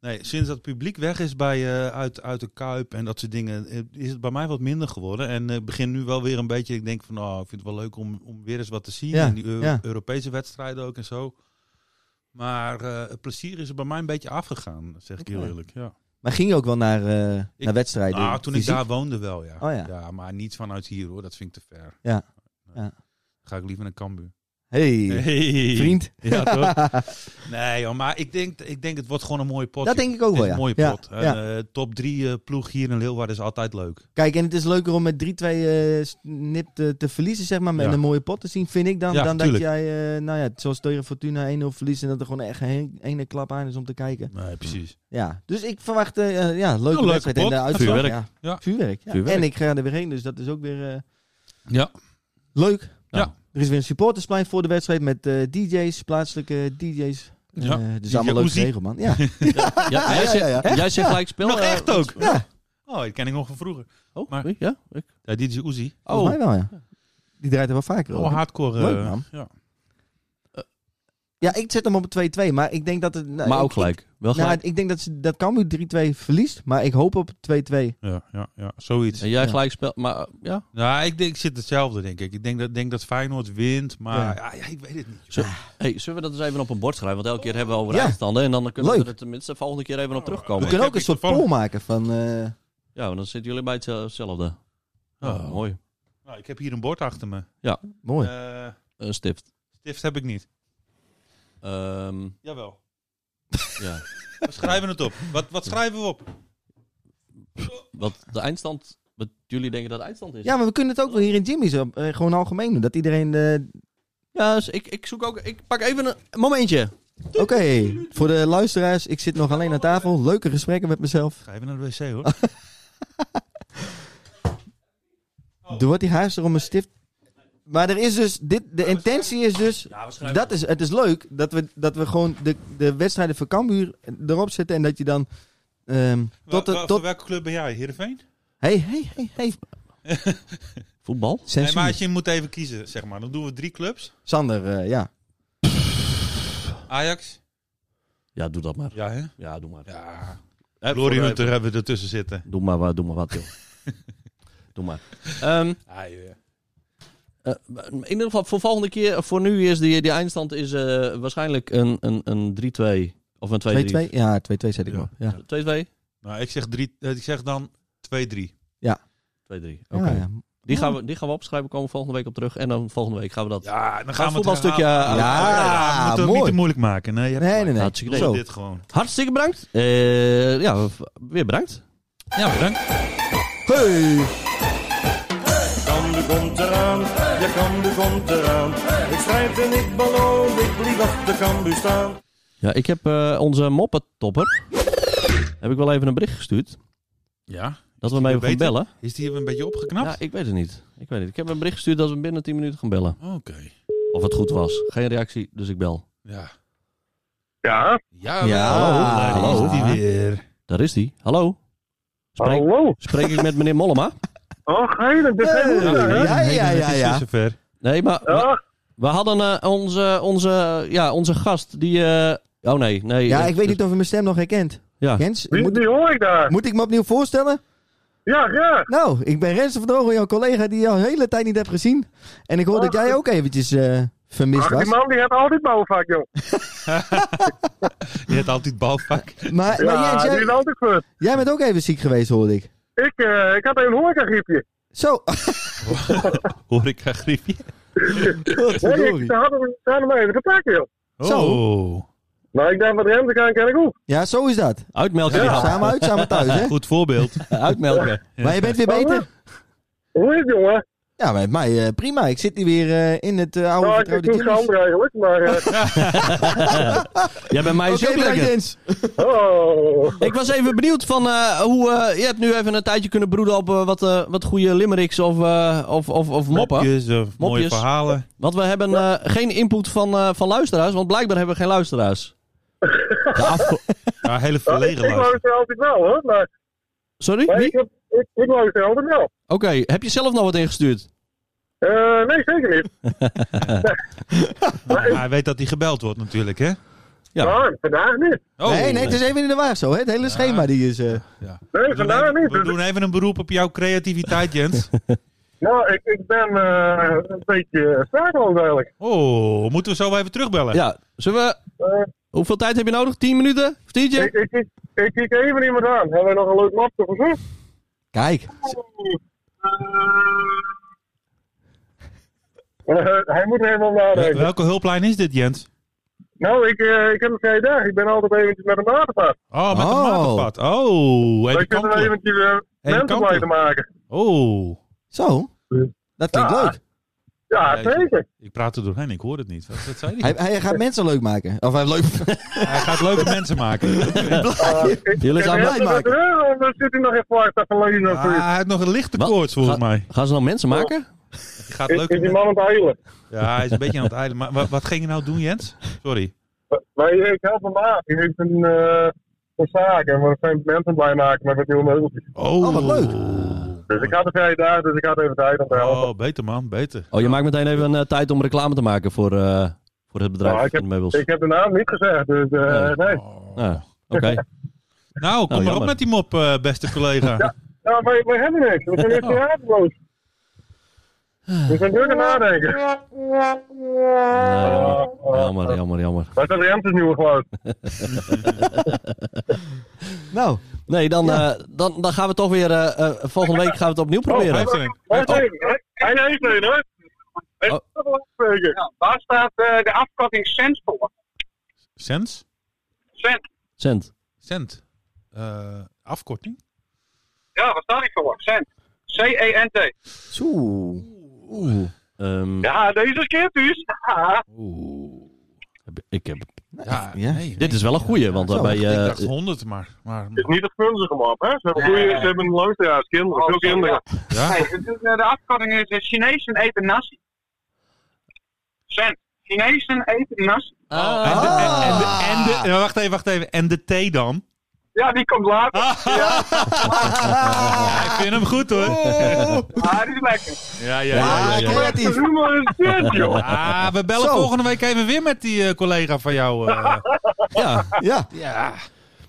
Speaker 1: Nee, sinds dat het publiek weg is bij, eh, uit, uit de Kuip en dat soort dingen, eh, is het bij mij wat minder geworden. En eh, ik begin nu wel weer een beetje, ik denk van, oh, ik vind het wel leuk om, om weer eens wat te zien.
Speaker 3: Ja,
Speaker 1: in die Eu-
Speaker 3: ja.
Speaker 1: Europese wedstrijden ook en zo. Maar eh, het plezier is er bij mij een beetje afgegaan, zeg ik heel
Speaker 3: Oké.
Speaker 1: eerlijk. Ja.
Speaker 3: Maar ging je ook wel naar, eh,
Speaker 1: Ik-
Speaker 3: naar wedstrijden?
Speaker 1: Nou, toen
Speaker 3: fysiek?
Speaker 1: ik daar woonde wel, ja.
Speaker 3: Oh, ja.
Speaker 1: Maar niet vanuit hier hoor, dat vind ik te ver.
Speaker 3: Ja.
Speaker 1: Nee.
Speaker 3: Ja.
Speaker 1: Ga ik liever naar Cambuur.
Speaker 3: Hey,
Speaker 1: Hey.
Speaker 3: vriend.
Speaker 1: Ja, toch? Nee, joh, maar ik denk, ik denk, het wordt gewoon een mooie pot.
Speaker 3: Dat
Speaker 1: joh.
Speaker 3: denk ik ook wel,
Speaker 1: Het
Speaker 3: ja.
Speaker 1: is een
Speaker 3: ja.
Speaker 1: mooie pot.
Speaker 3: ja.
Speaker 1: En, eh, top 3 ploeg hier in Leeuwarden is altijd leuk.
Speaker 3: Kijk, en het is leuker om met 3-2 eh, snip te, te verliezen, zeg maar. Met
Speaker 1: Ja.
Speaker 3: een mooie pot te zien, vind ik dan.
Speaker 1: Ja,
Speaker 3: dan
Speaker 1: tuurlijk.
Speaker 3: dat jij, eh, nou ja, zoals tegen Fortuna 1-0 verliest. En dat er gewoon echt geen ene klap aan is om te kijken.
Speaker 1: Nee, precies.
Speaker 3: Ja, dus ik verwacht eh, eh, ja, leuke
Speaker 1: leuke
Speaker 3: wedstrijd. En
Speaker 1: pot.
Speaker 3: de uitslag,
Speaker 2: Vuurwerk.
Speaker 3: Ja.
Speaker 1: Ja.
Speaker 3: Vuurwerk, ja.
Speaker 2: Vuurwerk.
Speaker 3: En ik ga er weer heen, dus dat is ook weer eh,
Speaker 1: Ja.
Speaker 3: leuk.
Speaker 1: Ja.
Speaker 3: Er is weer een supportersplein voor de wedstrijd met eh, DJ's, plaatselijke DJ's.
Speaker 1: Ja.
Speaker 3: Eh, dus
Speaker 1: DJ
Speaker 3: allemaal leuk
Speaker 1: Oezie.
Speaker 3: geregeld, man. Ja.
Speaker 2: Ja, jij,
Speaker 3: ja,
Speaker 2: zegt,
Speaker 3: ja, ja.
Speaker 2: jij zegt gelijk spel.
Speaker 1: Nog
Speaker 2: eh,
Speaker 1: echt ook?
Speaker 3: Ja.
Speaker 1: Oh, die ken ik nog van vroeger.
Speaker 2: Oh,
Speaker 1: Maar-
Speaker 2: wie? ja? Ik.
Speaker 1: Ja, dit is Uzi.
Speaker 3: Volgens
Speaker 2: Oh,
Speaker 3: mij wel, ja. Die draait er wel vaker
Speaker 1: Oh,
Speaker 3: over.
Speaker 1: hardcore. eh,
Speaker 3: Leuk, man.
Speaker 1: ja.
Speaker 3: Ja, ik zet hem op een 2-2, maar ik denk dat het... nou,
Speaker 2: maar
Speaker 3: ik-
Speaker 2: ook gelijk. Wel
Speaker 3: Nou,
Speaker 2: gelijk.
Speaker 3: ik denk dat, ze, dat Cambuur 3-2 verliest, maar ik hoop op 2-2.
Speaker 2: Oh,
Speaker 1: Ja, ja, ja, zoiets.
Speaker 2: En jij
Speaker 3: ja.
Speaker 2: gelijk spel. Maar eh, ja,
Speaker 1: Nou, ik, denk, ik zit hetzelfde, denk ik. Ik denk dat, denk dat Feyenoord wint, maar ja. Ja, ik weet het niet.
Speaker 2: Zo. Hey, zullen we dat eens even op een bord schrijven? Want elke keer hebben we over
Speaker 3: Ja.
Speaker 2: eindstanden. En dan kunnen
Speaker 3: Leuk.
Speaker 2: we er tenminste de volgende keer even op
Speaker 3: We
Speaker 2: terugkomen.
Speaker 1: ik
Speaker 3: kunnen
Speaker 1: heb
Speaker 3: ook een
Speaker 1: iets
Speaker 3: soort
Speaker 1: gevonden.
Speaker 3: poll maken van... eh,
Speaker 2: Ja, want dan zitten jullie bij het- eh, hetzelfde.
Speaker 1: Oh.
Speaker 2: Oh, mooi.
Speaker 1: Nou, ik heb hier een bord achter me.
Speaker 3: mooi.
Speaker 1: Eh,
Speaker 2: Een stift.
Speaker 1: stift heb ik niet.
Speaker 2: Ehm,
Speaker 1: Jawel.
Speaker 2: ja.
Speaker 1: We schrijven het op. Wat, wat schrijven we op?
Speaker 2: Wat de eindstand... Wat jullie denken dat de eindstand
Speaker 1: Dus-
Speaker 2: is?
Speaker 3: ja, maar we kunnen het ook wel hier in Jimmy's op, eh, gewoon algemeen doen. Dat iedereen... eh,
Speaker 2: Ja, dus ik, ik zoek ook... Ik pak even een momentje.
Speaker 3: Oké, voor de luisteraars, ik zit nog alleen aan tafel. Leuke gesprekken met mezelf.
Speaker 1: Ga even naar de wc,
Speaker 3: Ah,
Speaker 1: hoor. Oh.
Speaker 3: Er wordt die haast er om een stift... Maar er is dus... Dit, de intentie is dus... Dat is, het is leuk dat we, dat we gewoon de, de wedstrijden voor Cambuur erop zetten. En dat je dan... ehm, tot,
Speaker 1: Wel-
Speaker 3: de,
Speaker 1: wel-
Speaker 3: tot...
Speaker 1: Voor welke club ben jij? Heerenveen?
Speaker 3: Hey, hey, hey, hey.
Speaker 2: Voetbal?
Speaker 1: Nee, maar
Speaker 3: Sensuur.
Speaker 1: als je moet even kiezen, zeg maar. Dan doen we drie clubs.
Speaker 3: Sander, eh, ja.
Speaker 1: Ajax.
Speaker 2: Ja, doe dat maar.
Speaker 1: Ja, hè?
Speaker 2: Ja, doe maar.
Speaker 1: Ja.
Speaker 2: Hè,
Speaker 1: Glory
Speaker 2: voor-
Speaker 1: Hunter hebben we ertussen zitten.
Speaker 2: Doe maar, wa- doe maar wat, joh. doe maar. Ehm,
Speaker 1: Ah, joh, ja.
Speaker 2: eh, in ieder geval, voor volgende keer... Voor nu is die, die eindstand is, eh, waarschijnlijk een, een, een 3-2. Of een 2-3.
Speaker 3: 2-2? Ja, 2-2 zet ik
Speaker 1: Ja.
Speaker 3: nog. Ja.
Speaker 2: 2-2?
Speaker 1: Nou, ik zeg, drie, eh, ik zeg dan 2-3.
Speaker 2: 2-3. Oké.
Speaker 3: Ja, ja.
Speaker 2: Die gaan, we, die gaan we opschrijven, komen we volgende week op terug. En dan volgende week gaan we dat.
Speaker 1: Ja, dan
Speaker 2: gaan we het voetbalstukje
Speaker 1: herhalen. Oh,
Speaker 3: aan-
Speaker 1: Ja,
Speaker 3: Ja,
Speaker 1: we moeten het
Speaker 3: mooi.
Speaker 1: niet te moeilijk maken. Nee, je hebt
Speaker 3: Nee,
Speaker 1: gelijk.
Speaker 3: nee, nee.
Speaker 2: Hartstikke
Speaker 1: Doe
Speaker 3: Zo.
Speaker 1: dit gewoon.
Speaker 2: Hartstikke bedankt. Eh, ja, v- weer bedankt.
Speaker 1: Ja, bedankt.
Speaker 3: Hey.
Speaker 4: Cambuur komt eraan, ja Cambuur komt eraan. Ik strijd en ik ballon, ik blijf achter Cambuur staan.
Speaker 2: Ja, ik heb eh, onze moppetopper. Heb ik wel even een bericht gestuurd.
Speaker 1: Ja,
Speaker 2: Dat we hem even gaan
Speaker 1: beter?
Speaker 2: bellen.
Speaker 1: is die even een beetje opgeknapt?
Speaker 2: Ja, ik weet het niet. Ik weet het. Ik heb een bericht gestuurd dat we hem binnen 10 minuten gaan bellen.
Speaker 1: Oké.
Speaker 2: Of het goed was. Geen reactie, dus ik bel.
Speaker 1: Ja.
Speaker 5: Ja,
Speaker 1: Ja,
Speaker 3: Ja,
Speaker 1: daar
Speaker 2: hallo.
Speaker 1: is die weer.
Speaker 2: Daar is hij. Hallo. Spreek,
Speaker 5: hallo.
Speaker 2: spreek ik met meneer Mollema?
Speaker 5: Oh, geil, ik ben
Speaker 3: Hey.
Speaker 5: geen moeder, hè?
Speaker 3: Ja, ja, ja,
Speaker 1: Het is
Speaker 3: ja.
Speaker 1: dus zover.
Speaker 2: Nee, maar we,
Speaker 5: Ja,
Speaker 2: we hadden eh, onze, onze, ja, onze gast die. eh, oh nee, nee.
Speaker 3: Ja,
Speaker 2: eh,
Speaker 3: ik weet niet of je mijn stem nog herkent.
Speaker 2: Ja.
Speaker 3: Rens,
Speaker 5: wie,
Speaker 3: moet,
Speaker 5: wie hoor ik daar?
Speaker 3: moet ik me opnieuw voorstellen?
Speaker 5: Ja, ja.
Speaker 3: Nou, ik ben Rens van Dogen, jouw collega die je al een hele tijd niet hebt gezien. En ik hoor dat jij ook eventjes eh, vermist
Speaker 5: Ach, die
Speaker 3: was.
Speaker 5: man die had altijd bouwvak, joh.
Speaker 1: Je hebt altijd balvak.
Speaker 3: Maar, maar
Speaker 5: Ja,
Speaker 3: Jens,
Speaker 5: die is
Speaker 3: jij,
Speaker 5: altijd goed.
Speaker 3: jij bent ook even ziek geweest, hoorde ik.
Speaker 5: Ik, eh, ik had een horecagriepje.
Speaker 3: Zo,
Speaker 1: Hoor ik een griepje.
Speaker 5: Nee,
Speaker 3: godverdorie.
Speaker 5: ik, ze hadden hem- ze hadden mij even gepakt, joh.
Speaker 1: Oh.
Speaker 5: Maar ik dacht, wat remmen kan, kan ik ook.
Speaker 3: Ja, zo is dat.
Speaker 2: Uitmelken die hap.
Speaker 3: Samen uit, samen thuis, hè?
Speaker 1: Goed voorbeeld.
Speaker 2: Uitmelken.
Speaker 3: Maar je bent weer beter?
Speaker 5: Hoe is het, jongen?
Speaker 3: Ja, met mij eh, prima. Ik zit hier weer eh, in het eh, oude
Speaker 5: Nou, ik
Speaker 3: vertrouwde
Speaker 5: doe ze
Speaker 3: Jimmy's.
Speaker 5: ander eigenlijk, maar... eh,
Speaker 2: Jij bent mij
Speaker 3: Oké,
Speaker 2: zo
Speaker 3: bedankt,
Speaker 2: lekker.
Speaker 3: Jens.
Speaker 5: oh.
Speaker 2: Ik was even benieuwd van eh, hoe... eh, je hebt nu even een tijdje kunnen broeden op eh, wat, eh, wat goede limericks of, eh, of, of, of moppen.
Speaker 1: Mopjes, eh, mooie
Speaker 2: Mopjes.
Speaker 1: verhalen.
Speaker 2: Want we hebben eh, geen input van, eh, van luisteraars, want blijkbaar hebben we geen luisteraars. De afge-
Speaker 1: Ja, hele
Speaker 5: Nou, ik,
Speaker 1: verlegen
Speaker 5: ik
Speaker 1: luister.
Speaker 5: luister altijd wel, hoor. Maar,
Speaker 2: Sorry?
Speaker 5: maar
Speaker 2: Wie?
Speaker 5: ik, heb, ik, ik luister altijd wel.
Speaker 2: Oké, heb je zelf nog wat ingestuurd?
Speaker 5: Eh, nee, zeker niet.
Speaker 1: Maar hij weet dat hij gebeld wordt natuurlijk, hè?
Speaker 2: Ja.
Speaker 5: Maar vandaag niet.
Speaker 1: Oh.
Speaker 3: nee, nee, het is even in de war zo, hè? Het hele schema die is... eh,
Speaker 5: Nee,
Speaker 1: We doen
Speaker 5: vandaag
Speaker 1: even-
Speaker 5: niet.
Speaker 1: We
Speaker 5: Dus-
Speaker 1: doen even een beroep op jouw creativiteit, Jens.
Speaker 5: nou, ik, ik ben eh, een beetje sprakeloos eigenlijk.
Speaker 1: Oh, moeten we zo wel even terugbellen?
Speaker 2: Ja, zullen we...
Speaker 5: Eh,
Speaker 2: Hoeveel tijd heb je nodig? 10 minuten? Of
Speaker 5: ik,
Speaker 2: 10?
Speaker 5: ik, ik, ik kijk even iemand aan. Hebben we nog een leuk mapje of zo?
Speaker 3: Kijk.
Speaker 5: Eh, hij moet er even om
Speaker 1: Wel-
Speaker 5: nadenken.
Speaker 1: Welke hulplijn is dit, Jens?
Speaker 5: Nou, ik, eh, ik heb een vrije dag. Ik ben altijd eventjes met een waterpad.
Speaker 1: Oh, met
Speaker 3: Oh.
Speaker 1: een waterpad. Oh,
Speaker 5: Dan
Speaker 1: even
Speaker 5: kunnen we
Speaker 1: kantelen.
Speaker 5: eventjes eh, mensen
Speaker 1: kantelen.
Speaker 5: blij te maken.
Speaker 1: Oh,
Speaker 3: Zo. Dat klinkt
Speaker 5: Ja.
Speaker 3: leuk.
Speaker 5: Ja,
Speaker 1: Ja,
Speaker 5: zeker.
Speaker 1: ik praat er doorheen, ik hoor het niet. Wat, wat zei
Speaker 3: Hij,
Speaker 1: hij?
Speaker 3: hij gaat mensen leuk maken. Of hij leuk...
Speaker 1: Hij gaat leuke mensen maken.
Speaker 5: Eh, ik- ik
Speaker 2: Jullie
Speaker 5: heb
Speaker 2: gaan
Speaker 5: hem
Speaker 3: blij
Speaker 5: net terug, of Dan zit hij nog in Florida verleden of
Speaker 1: Ah,
Speaker 5: zoiets.
Speaker 1: hij heeft nog een lichte
Speaker 2: Wat?
Speaker 1: koorts, volgens
Speaker 2: Ga-
Speaker 1: mij.
Speaker 2: Gaan ze dan mensen maken?
Speaker 1: Hij gaat
Speaker 5: Is,
Speaker 1: leuke
Speaker 5: is die
Speaker 1: men-
Speaker 5: man aan het eilen?
Speaker 1: Ja, hij is een beetje aan het eilen. Maar wat, wat ging je nou doen, Jens? Sorry.
Speaker 5: Maar ik help hem aan. Hij heeft een, eh een zaak en we zijn mensen blij maken met wat nieuwe meubeltjes.
Speaker 1: Oh,
Speaker 3: Oh, wat leuk.
Speaker 5: Dus ik had een vrije dag, dus ik had even tijd om te helpen.
Speaker 1: Oh, beter man, beter.
Speaker 2: Oh, je maakt meteen even een eh, tijd om reclame te maken voor, eh, voor het bedrijf
Speaker 5: Ja, ik
Speaker 2: van de meubels.
Speaker 5: Ik heb de naam niet gezegd, dus eh,
Speaker 2: Oh. Nee.
Speaker 5: nee.
Speaker 2: Ah, Oké.
Speaker 1: Nou, kom maar op
Speaker 2: jammer.
Speaker 1: met die mop, eh, beste collega.
Speaker 5: Ja, wij, wij hebben niks. We zijn eerst theaterloos. We zijn druk aan het nadenken.
Speaker 2: Nee, Nou, jammer.
Speaker 5: Oh, oh.
Speaker 2: jammer, jammer, jammer.
Speaker 5: Maar dat is Remtens nieuwe geluid.
Speaker 3: Nou,
Speaker 2: Nee, dan, eh, dan, dan gaan we toch weer... eh, eh, volgende week gaan we het opnieuw
Speaker 1: Hij
Speaker 2: proberen.
Speaker 1: heeft er een.
Speaker 5: Hij heeft een, hoor. Hij heeft een afspreken.
Speaker 6: Ja, waar staat eh, de afkorting cent voor?
Speaker 1: Cents?
Speaker 6: Cent.
Speaker 2: Cent.
Speaker 1: Cent. Eh, afkorting?
Speaker 6: Ja, waar staat die voor? Cent. E C-E-N-T.
Speaker 3: zo. Oeh.
Speaker 2: Ehm,
Speaker 6: Ja, deze keer dus. Ja,
Speaker 2: heb- Ik heb...
Speaker 1: Ja,
Speaker 3: ja.
Speaker 1: nee,
Speaker 2: Dit is wel een goeie, want
Speaker 3: Zo,
Speaker 2: daarbij...
Speaker 1: nee. Ik
Speaker 2: eh,
Speaker 1: dacht 100, maar. maar,
Speaker 5: Het is niet het funzige mop, hè? Ze hebben, goeie, ze hebben luisteraars,
Speaker 6: Oh,
Speaker 5: kinderen, veel kinderen.
Speaker 1: ja?
Speaker 6: Hey, het is, eh, de afkorting is eh, Chinezen eten nasi. Cent. Chinezen eten nasi.
Speaker 1: En
Speaker 2: ah,
Speaker 1: de, en, en de, en de, ja, wacht even, wacht even. En de thee dan?
Speaker 6: Ja, die komt later.
Speaker 1: Ja, ik vind hem goed hoor.
Speaker 6: Ah, die is lekker.
Speaker 1: Ja, ja,
Speaker 3: Ah,
Speaker 1: ja. ja, ja.
Speaker 5: De
Speaker 3: Creatief.
Speaker 5: humor is shit, joh.
Speaker 1: Ah, we bellen
Speaker 3: Zo.
Speaker 1: volgende week even weer met die eh, collega van jou. eh.
Speaker 2: ja.
Speaker 3: Ja.
Speaker 1: ja.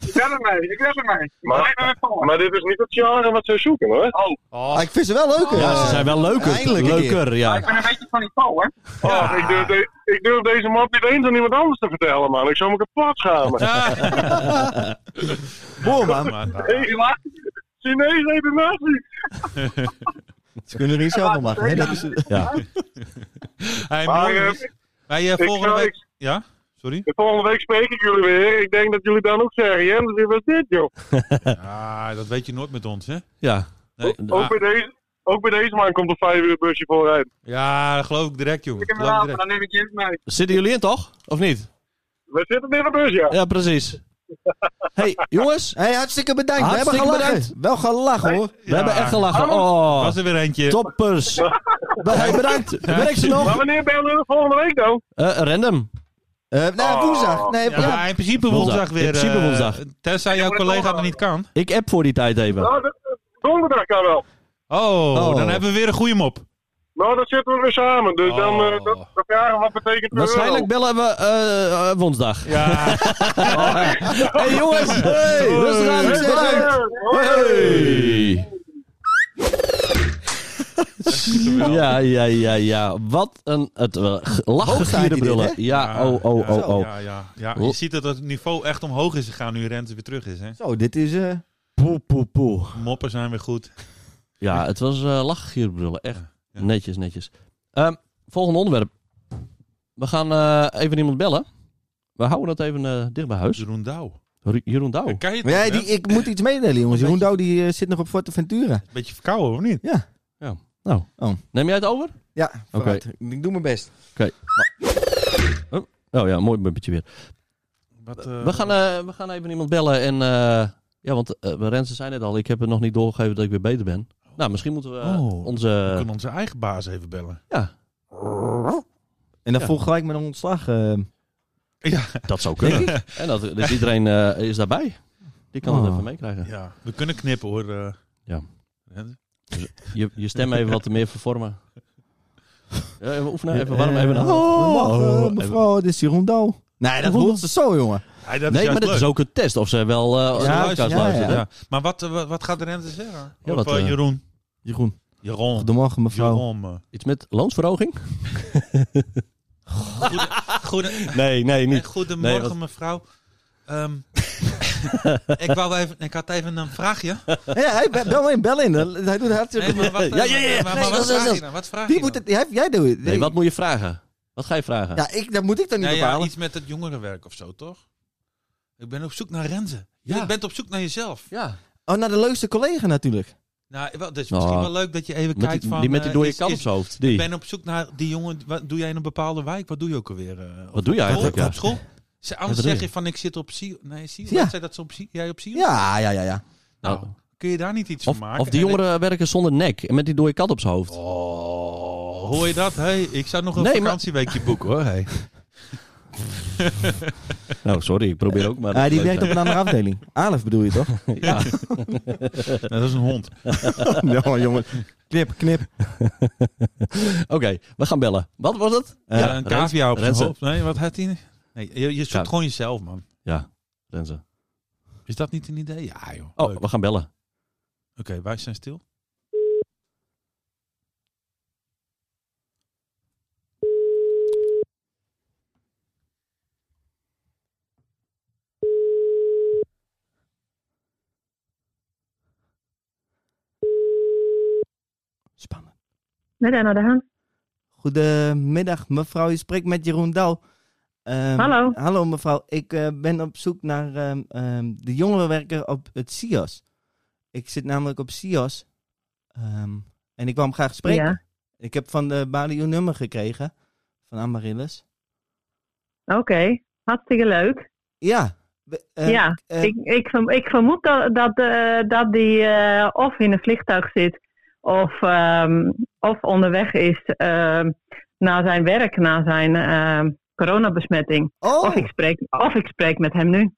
Speaker 6: Ik ben ermee. Ik ben ermee.
Speaker 5: Maar-
Speaker 6: Blijf ermee voor.
Speaker 5: Maar dit is niet het genre wat ze zoeken, hoor.
Speaker 6: Oh,
Speaker 1: Oh,
Speaker 3: Ah, ik vind ze wel leuk. hè.
Speaker 2: Ja, ze zijn wel leuker.
Speaker 3: Eindelijk een keer.
Speaker 2: leuker,
Speaker 6: ik
Speaker 2: ja.
Speaker 6: ben een beetje van die Paul, hoor.
Speaker 5: Oh, ik, durf de- ik durf deze mop niet eens aan iemand anders te vertellen, man. Ik zou me kapot schamen.
Speaker 3: Boah, man.
Speaker 1: maar, nou,
Speaker 6: Die laat-
Speaker 5: Chinees eten nasi.
Speaker 3: Ze kunnen er niet zelf van maken. Hè? Dat is,
Speaker 2: ja.
Speaker 1: hey,
Speaker 5: Maar
Speaker 1: mooi.
Speaker 5: eh,
Speaker 1: Wij, eh, volgende
Speaker 5: zou-
Speaker 1: week. Ja? Sorry?
Speaker 5: volgende week spreek ik jullie weer. Ik denk dat jullie dan ook zeggen, Jens, wie was dit, joh?
Speaker 1: Ja, Ah, dat weet je nooit met ons, hè?
Speaker 2: ja.
Speaker 1: Nee.
Speaker 5: Ook bij, deze, ook bij deze man komt er vijf uur busje vooruit.
Speaker 1: Ja, dat geloof ik direct, jongen.
Speaker 6: Ik heb
Speaker 1: Dat
Speaker 6: hem
Speaker 1: geloof ik
Speaker 6: later,
Speaker 1: direct.
Speaker 6: dan neem ik Jens mee.
Speaker 2: Zitten jullie in toch? Of niet?
Speaker 5: We zitten in een bus, ja.
Speaker 2: Ja, precies. hey, jongens.
Speaker 3: hey, hartstikke bedankt.
Speaker 2: Hartstikke
Speaker 3: we hebben gelachen.
Speaker 2: bedankt.
Speaker 3: Wel gelachen hoor.
Speaker 2: We hebben echt gelachen. Oh,
Speaker 1: Was er weer eentje.
Speaker 2: toppers. Hey, bedankt. Werk ze nog?
Speaker 5: Maar wanneer bellen we volgende week dan?
Speaker 2: Eh, random.
Speaker 3: Eh nee, woensdag. Nee, ja.
Speaker 1: Ja, in principe woensdag
Speaker 2: Woensdag.
Speaker 1: weer.
Speaker 2: In principe
Speaker 1: eh,
Speaker 2: woensdag.
Speaker 1: Tenzij jouw collega er niet kan.
Speaker 2: Ik app voor die tijd even.
Speaker 5: Nou, d- donderdag kan wel.
Speaker 1: Oh,
Speaker 3: Oh.
Speaker 1: dan hebben we weer een goede mop. Oh.
Speaker 5: Nou, dan zitten we weer samen. Dus dan, eh, dan, dan vragen we wat betekent
Speaker 2: Oh.
Speaker 5: de
Speaker 2: Waarschijnlijk bellen we eh, eh, woensdag.
Speaker 1: Ja.
Speaker 2: hey, jongens. Hey, rustig aan.
Speaker 3: Succes.
Speaker 2: Bedankt.
Speaker 5: euro.
Speaker 2: Hey. Ja, ja, ja, ja. Wat een... Het uh,
Speaker 3: staat hij dit,
Speaker 2: brullen.
Speaker 3: hè?
Speaker 2: Ja, oh, oh,
Speaker 1: ja,
Speaker 2: oh, oh.
Speaker 1: Ja, ja, ja. Je ziet dat het niveau echt omhoog is gegaan nu Rente weer terug is. Hè?
Speaker 3: Zo, dit is... eh poe, poe, poe.
Speaker 1: Moppen zijn weer goed.
Speaker 2: Ja, het was eh lachgierbrullen. Echt
Speaker 1: Ja.
Speaker 2: netjes, netjes. Ehm, volgende onderwerp. We gaan eh, even iemand bellen. We houden dat even eh, dicht bij huis.
Speaker 1: Jeroen Douw.
Speaker 2: Ru- Jeroen Douw.
Speaker 1: Kijk je het
Speaker 3: Maar ja,
Speaker 1: nog, hè?
Speaker 3: die, ik moet iets meedelen, jongens. Jeroen Douw die, eh, zit nog op Forteventura.
Speaker 1: Beetje verkouden, of niet?
Speaker 2: Nou,
Speaker 3: Oh.
Speaker 2: neem jij het over?
Speaker 3: Ja, vooruit. ik doe mijn best.
Speaker 2: Oh ja, mooi beetje weer.
Speaker 1: Wat,
Speaker 2: We gaan, eh, we gaan even iemand bellen. En eh, ja, want eh, Renze zei net al, ik heb het nog niet doorgegeven dat ik weer beter ben. Nou, misschien moeten we eh,
Speaker 1: Oh. we
Speaker 2: onze...
Speaker 1: kunnen onze eigen baas even bellen.
Speaker 2: Ja,
Speaker 3: En dat
Speaker 2: Ja.
Speaker 3: volgt gelijk met een ontslag. eh.
Speaker 2: dat zou kunnen. en dat, dus iedereen eh, is daarbij. Die kan het
Speaker 3: Oh.
Speaker 2: even meekrijgen.
Speaker 1: Ja, we kunnen knippen hoor. eh.
Speaker 2: Ja.
Speaker 1: Rente.
Speaker 2: Je, je stem even wat meer vervormen. Ja, even oefenen, even
Speaker 3: Eh,
Speaker 2: warm, even...
Speaker 3: eh, goedemorgen, mevrouw, dit is Jeroen Douw. Nee, dat voelt ze zo, jongen.
Speaker 1: Hey, dat
Speaker 2: Nee,
Speaker 1: is
Speaker 2: maar
Speaker 1: juist
Speaker 2: dit
Speaker 1: leuk.
Speaker 2: is ook een test of ze wel eh
Speaker 1: Ja,
Speaker 2: ja, podcast
Speaker 1: ja,
Speaker 3: ja.
Speaker 2: luisteren.
Speaker 1: Ja. Maar wat, eh, wat, wat gaat Rente zeggen?
Speaker 2: Ja,
Speaker 1: of
Speaker 2: wat,
Speaker 1: eh,
Speaker 2: eh,
Speaker 1: Jeroen?
Speaker 3: Jeroen,
Speaker 1: Jeroen.
Speaker 3: goedemorgen, mevrouw.
Speaker 1: Jeroen. eh.
Speaker 2: Iets met loonsverhoging?
Speaker 1: Ah, Goede,
Speaker 2: Nee, nee,
Speaker 1: Eh, Goedemorgen,
Speaker 2: Nee, wat-
Speaker 1: mevrouw. Ehm, ik, wou even, ik had even een vraagje.
Speaker 3: Ja, hij be- bel in, bel in. Hij doet hartstikke
Speaker 1: Nee, maar wat, eh,
Speaker 2: Ja, ja, ja.
Speaker 1: maar- maar
Speaker 3: Nee, dat
Speaker 1: wat
Speaker 3: is-
Speaker 1: vraag
Speaker 3: dat
Speaker 1: je nou? Wat vraag
Speaker 3: Die
Speaker 1: je
Speaker 3: moet
Speaker 1: nou?
Speaker 3: het, jij, jij doet het.
Speaker 2: Nee, wat moet je vragen? Wat ga je vragen?
Speaker 3: Ja, ik, dat moet ik dan niet
Speaker 1: Nee, ja,
Speaker 3: bepalen.
Speaker 1: iets met het jongerenwerk of zo, toch? Ik ben op zoek naar Renze.
Speaker 2: Ja.
Speaker 1: Je bent op zoek naar jezelf.
Speaker 2: Ja.
Speaker 3: Oh, naar de leukste collega natuurlijk.
Speaker 1: Nou, wel, dat is
Speaker 2: Nou,
Speaker 1: misschien wel leuk dat je even
Speaker 2: Met
Speaker 1: kijkt
Speaker 2: die,
Speaker 1: van...
Speaker 2: die met die
Speaker 1: eh,
Speaker 2: dode
Speaker 1: is-
Speaker 2: kat op
Speaker 1: is-
Speaker 2: zijn hoofd.
Speaker 1: Ik
Speaker 2: Die.
Speaker 1: ben op zoek naar die jongen... Wat doe jij in een bepaalde wijk? Wat doe je ook alweer? eh, op
Speaker 2: Wat doe je
Speaker 1: school?
Speaker 2: eigenlijk? ja?
Speaker 1: Op school? Ze- Anders
Speaker 2: Wat doe
Speaker 1: zeg
Speaker 2: je?
Speaker 1: je van ik zit op Sio. Nee, Sio?
Speaker 3: Ja.
Speaker 1: Ja. Zei dat ze op Sio? Jij op Sio?
Speaker 3: Ja, ja, ja, ja.
Speaker 1: Nou,
Speaker 2: Nou,
Speaker 1: kun je daar niet iets van
Speaker 2: of,
Speaker 1: maken?
Speaker 2: of die
Speaker 1: En ik-
Speaker 2: jongeren werken zonder nek en met die dode kat op zijn hoofd.
Speaker 1: Oh, hoor je dat? Hey, ik zou nog een
Speaker 2: Nee, maar-
Speaker 1: vakantieweekje boeken hoor. Hey.
Speaker 2: Nou, sorry, ik probeer ook maar.
Speaker 3: Ah, die
Speaker 2: leuk
Speaker 3: werkt op
Speaker 2: zijn.
Speaker 3: een andere afdeling. Alef bedoel je toch?
Speaker 2: Ja.
Speaker 1: dat is een hond.
Speaker 3: Ja, jongen. Knip, knip.
Speaker 2: Oké, we gaan bellen. Wat was het?
Speaker 1: ja, Eh, een
Speaker 2: Renze.
Speaker 1: cavia op zijn
Speaker 2: Renze.
Speaker 1: hoofd. Nee, wat had hij? Nee, je, je zoekt
Speaker 2: Ja.
Speaker 1: gewoon jezelf, man.
Speaker 2: Ja, Renze.
Speaker 1: Is dat niet een idee? Ja, joh.
Speaker 2: Oh,
Speaker 1: Leuk. Oké,
Speaker 2: we gaan bellen.
Speaker 1: wij zijn stil.
Speaker 3: Spannend.
Speaker 7: Met Anna de Haan.
Speaker 3: Goedemiddag, mevrouw. Je spreekt met Jeroen Douw. Ehm,
Speaker 7: Hallo.
Speaker 3: Hallo, mevrouw. Ik eh, ben op zoek naar ehm, ehm, de jongerenwerker op het SIOS. Ik zit namelijk op SIOS. Ehm, en ik wou hem graag spreken.
Speaker 7: Ja.
Speaker 3: Ik heb van de balie uw nummer gekregen. Van Amaryllis.
Speaker 7: Oké, hartstikke leuk.
Speaker 3: Ja. we- eh,
Speaker 7: ja,
Speaker 3: eh,
Speaker 7: ik, ik, verm- ik vermoed dat, dat, eh, dat die eh, of in een vliegtuig zit of, ehm, of onderweg is ehm, naar zijn werk, na zijn ehm, coronabesmetting.
Speaker 3: Oh,
Speaker 7: Of, ik spreek, of ik spreek met hem nu.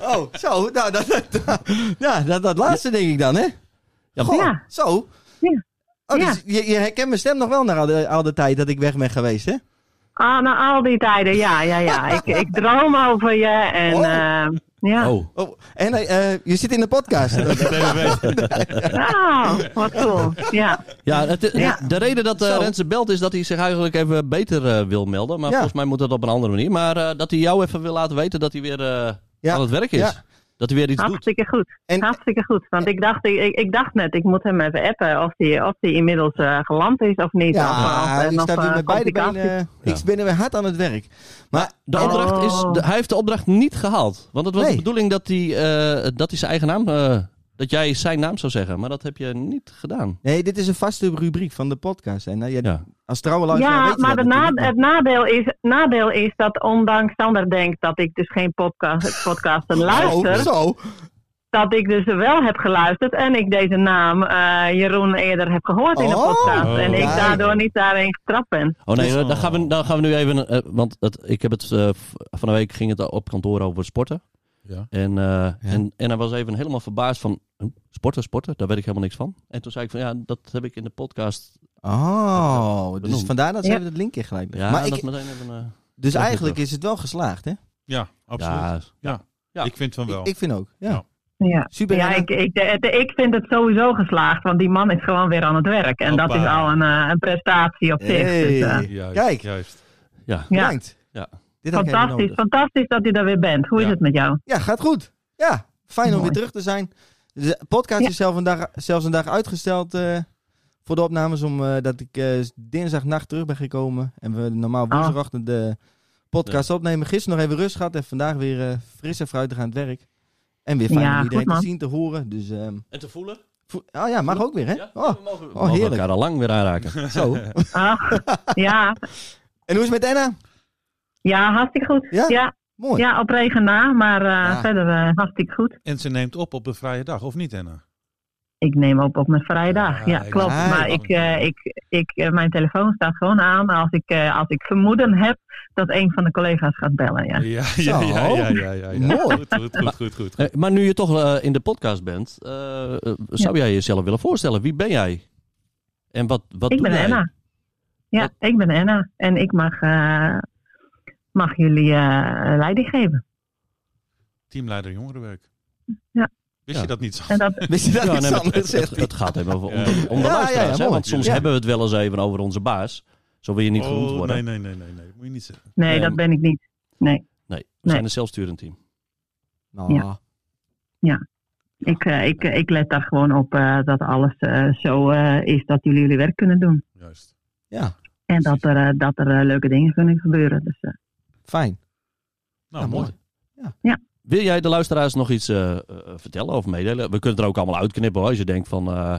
Speaker 3: oh, zo. Nou, dat, dat, dat- ja, dat, dat laatste denk ik dan, hè? Ja,
Speaker 7: Ja.
Speaker 3: Zo.
Speaker 7: Ja.
Speaker 3: Oh,
Speaker 7: Ja.
Speaker 3: dus je, je herkent mijn stem nog wel na al de, al de tijd dat ik weg ben geweest, hè?
Speaker 7: Ah, na al die tijden, ja, ja, ja. ik, ik droom over je en
Speaker 3: Oh.
Speaker 7: ehm, ja.
Speaker 2: Oh,
Speaker 3: Oh, en eh, eh, je zit in de podcast.
Speaker 7: Ah, wat cool. Ja.
Speaker 2: ja, het, het-
Speaker 7: Ja.
Speaker 2: de reden dat eh
Speaker 3: Zo.
Speaker 2: Renze belt is dat hij zich eigenlijk even beter eh, wil melden. Maar
Speaker 3: Ja.
Speaker 2: volgens mij moet dat op een andere manier. Maar eh, dat hij jou even wil laten weten dat hij weer eh,
Speaker 3: Ja.
Speaker 2: aan het werk is.
Speaker 3: Ja.
Speaker 2: Dat hij weer iets doet.
Speaker 7: Hartstikke goed.
Speaker 3: En-
Speaker 7: Hartstikke goed. Want ik dacht, ik, ik- ik dacht net, ik moet hem even appen of hij of die inmiddels eh, geland is of niet. of,
Speaker 3: ja,
Speaker 7: of,
Speaker 3: ik
Speaker 7: en
Speaker 3: sta
Speaker 7: of,
Speaker 3: weer
Speaker 7: eh,
Speaker 3: met beide
Speaker 7: complicaties.
Speaker 3: benen. eh,
Speaker 2: Ja.
Speaker 3: Ik ben er weer hard aan het werk. Maar
Speaker 2: De
Speaker 7: Oh.
Speaker 2: opdracht is, de- hij heeft de opdracht niet gehaald. Want het was
Speaker 3: Nee.
Speaker 2: de bedoeling dat hij, eh, dat hij zijn eigen naam, eh, dat jij zijn naam zou zeggen. Maar dat heb je niet gedaan.
Speaker 3: nee, dit is een vaste rubriek van de podcast. En nou, jij-
Speaker 2: Ja.
Speaker 3: als trouwe luisteraar
Speaker 7: Ja,
Speaker 3: weet je
Speaker 7: maar de
Speaker 3: dat
Speaker 7: na-
Speaker 3: natuurlijk,
Speaker 7: het nadeel is, nadeel is dat ondanks Sander denkt dat ik dus geen podcast, podcasten
Speaker 3: Oh,
Speaker 7: luister,
Speaker 3: Zo, zo.
Speaker 7: dat ik dus wel heb geluisterd en ik deze naam eh, Jeroen eerder heb gehoord in de
Speaker 3: Oh.
Speaker 7: podcast. en ik
Speaker 3: Kijk.
Speaker 7: daardoor niet daarin getrapt ben.
Speaker 2: Oh nee,
Speaker 1: Oh.
Speaker 2: dan gaan we, dan gaan we nu even. eh, want het, ik heb het. eh, v- van de week ging het op kantoor over sporten.
Speaker 1: Ja.
Speaker 2: En, eh, en, en hij was even helemaal verbaasd van. "Hm, Sporten, sporten, daar weet ik helemaal niks van. En toen zei ik van ja, dat heb ik in de podcast.
Speaker 3: Oh, dus
Speaker 2: Benoemd.
Speaker 3: vandaar dat ze
Speaker 7: Ja.
Speaker 3: even het linkje gelijk leggen.
Speaker 2: Ja,
Speaker 3: maar
Speaker 2: dat
Speaker 3: ik,
Speaker 2: meteen even. eh,
Speaker 3: dus
Speaker 2: terug.
Speaker 3: eigenlijk is het wel geslaagd, hè?
Speaker 1: Ja, absoluut.
Speaker 2: ja,
Speaker 1: Ja.
Speaker 2: Ja.
Speaker 1: Ik vind van wel.
Speaker 3: Ik, ik vind ook. Ja.
Speaker 1: Ja.
Speaker 7: Ja,
Speaker 3: Super,
Speaker 7: ja
Speaker 3: Henna.
Speaker 7: ik, ik, het- ik vind het sowieso geslaagd, want die man is gewoon weer aan het werk. En dat
Speaker 1: Hoppa.
Speaker 7: is al een, eh, een prestatie op zich.
Speaker 3: Hey.
Speaker 7: Dus, eh,
Speaker 1: Juist,
Speaker 3: Kijk.
Speaker 1: Juist.
Speaker 2: Ja.
Speaker 7: ja.
Speaker 3: Bedankt.
Speaker 2: Ja.
Speaker 3: Dit had ik even
Speaker 7: Fantastisch,
Speaker 3: nodig.
Speaker 7: fantastisch dat je daar weer bent. Hoe
Speaker 1: Ja.
Speaker 7: is het met jou?
Speaker 3: Ja, gaat goed. Ja, fijn om
Speaker 7: Mooi.
Speaker 3: weer terug te zijn. De podcast
Speaker 7: Ja.
Speaker 3: is zelf een dag, zelfs een dag uitgesteld eh, voor de opnames, omdat ik eh, dinsdagnacht terug ben gekomen. En we normaal
Speaker 7: Ah.
Speaker 3: woensdagochtend de podcast opnemen. Gisteren nog even rust gehad en vandaag weer eh, fris en fruitig aan het werk. En weer fijn
Speaker 7: Ja,
Speaker 3: om
Speaker 7: goed,
Speaker 3: iedereen te
Speaker 7: man.
Speaker 3: zien, te horen. Dus, ehm,
Speaker 2: En te voelen?
Speaker 3: vo- oh ja, mag ook weer, hè?
Speaker 2: Ja?
Speaker 3: Oh,
Speaker 2: we mogen, we
Speaker 3: oh,
Speaker 2: mogen
Speaker 3: heerlijk.
Speaker 2: elkaar al lang weer aanraken.
Speaker 3: zo.
Speaker 7: Ach, ja.
Speaker 3: en hoe is het met Anna?
Speaker 7: ja, hartstikke goed.
Speaker 3: Ja?
Speaker 7: Ja,
Speaker 3: Mooi.
Speaker 7: ja, op regen na, maar eh,
Speaker 3: Ja.
Speaker 7: verder eh, hartstikke goed.
Speaker 1: En ze neemt op op de vrije dag, of niet, Anna?
Speaker 7: Ik neem op op mijn vrije dag.
Speaker 1: Ja,
Speaker 7: Ja,
Speaker 1: ik-
Speaker 7: klopt.
Speaker 3: Ah,
Speaker 7: maar
Speaker 1: ja.
Speaker 7: ik, eh, ik, ik, eh, mijn telefoon staat gewoon aan als ik, eh, als ik vermoeden heb dat een van de collega's gaat bellen. Ja.
Speaker 1: Ja, ja, ja, ja, ja, ja, ja.
Speaker 3: Mooi.
Speaker 1: Goed, goed, goed, goed, goed.
Speaker 2: Eh, maar nu je toch eh, in de podcast bent, eh, eh, zou jij jezelf willen voorstellen? Wie ben jij? En wat, wat
Speaker 7: Ik
Speaker 2: doe
Speaker 7: ben
Speaker 2: jij?
Speaker 7: Anna. Ja, ik ben Anna. En ik mag, eh, mag jullie eh leiding geven.
Speaker 1: Teamleider jongerenwerk.
Speaker 7: Ja.
Speaker 1: Wist
Speaker 2: Ja.
Speaker 1: je dat niet zo?
Speaker 7: En dat,
Speaker 3: Wist je dat
Speaker 2: Ja,
Speaker 3: iets
Speaker 2: nee, maar het,
Speaker 3: anders
Speaker 2: het,
Speaker 3: zegt?
Speaker 2: het- het gaat even over om,
Speaker 1: Ja.
Speaker 2: de- om de
Speaker 3: Ja,
Speaker 2: luisteraars.
Speaker 3: ja, ja,
Speaker 2: hè,
Speaker 3: mooi.
Speaker 2: want soms
Speaker 3: Ja.
Speaker 2: hebben we het wel eens even over onze baas. Zo wil je niet genoemd
Speaker 1: oh,
Speaker 2: worden.
Speaker 1: nee,
Speaker 2: Nee,
Speaker 1: nee, nee, nee, nee. Moet je niet zeggen.
Speaker 7: nee,
Speaker 2: Ja.
Speaker 7: dat ben ik niet.
Speaker 2: we
Speaker 7: Nee.
Speaker 2: zijn een zelfsturend team.
Speaker 3: Nou,
Speaker 7: Ik, eh, ik, eh, ik let daar gewoon op eh, dat alles eh, zo eh, is dat jullie jullie werk kunnen doen.
Speaker 1: Juist.
Speaker 3: ja,
Speaker 7: En dat er, eh, dat er eh, leuke dingen kunnen gebeuren. Dus, eh,
Speaker 3: fijn.
Speaker 2: Oh,
Speaker 1: Nou,
Speaker 3: Ja,
Speaker 1: mooi.
Speaker 3: mooi.
Speaker 2: Wil jij de luisteraars nog iets eh, eh, vertellen of meedelen? We kunnen het er ook allemaal uitknippen hoor, als je denkt van... eh,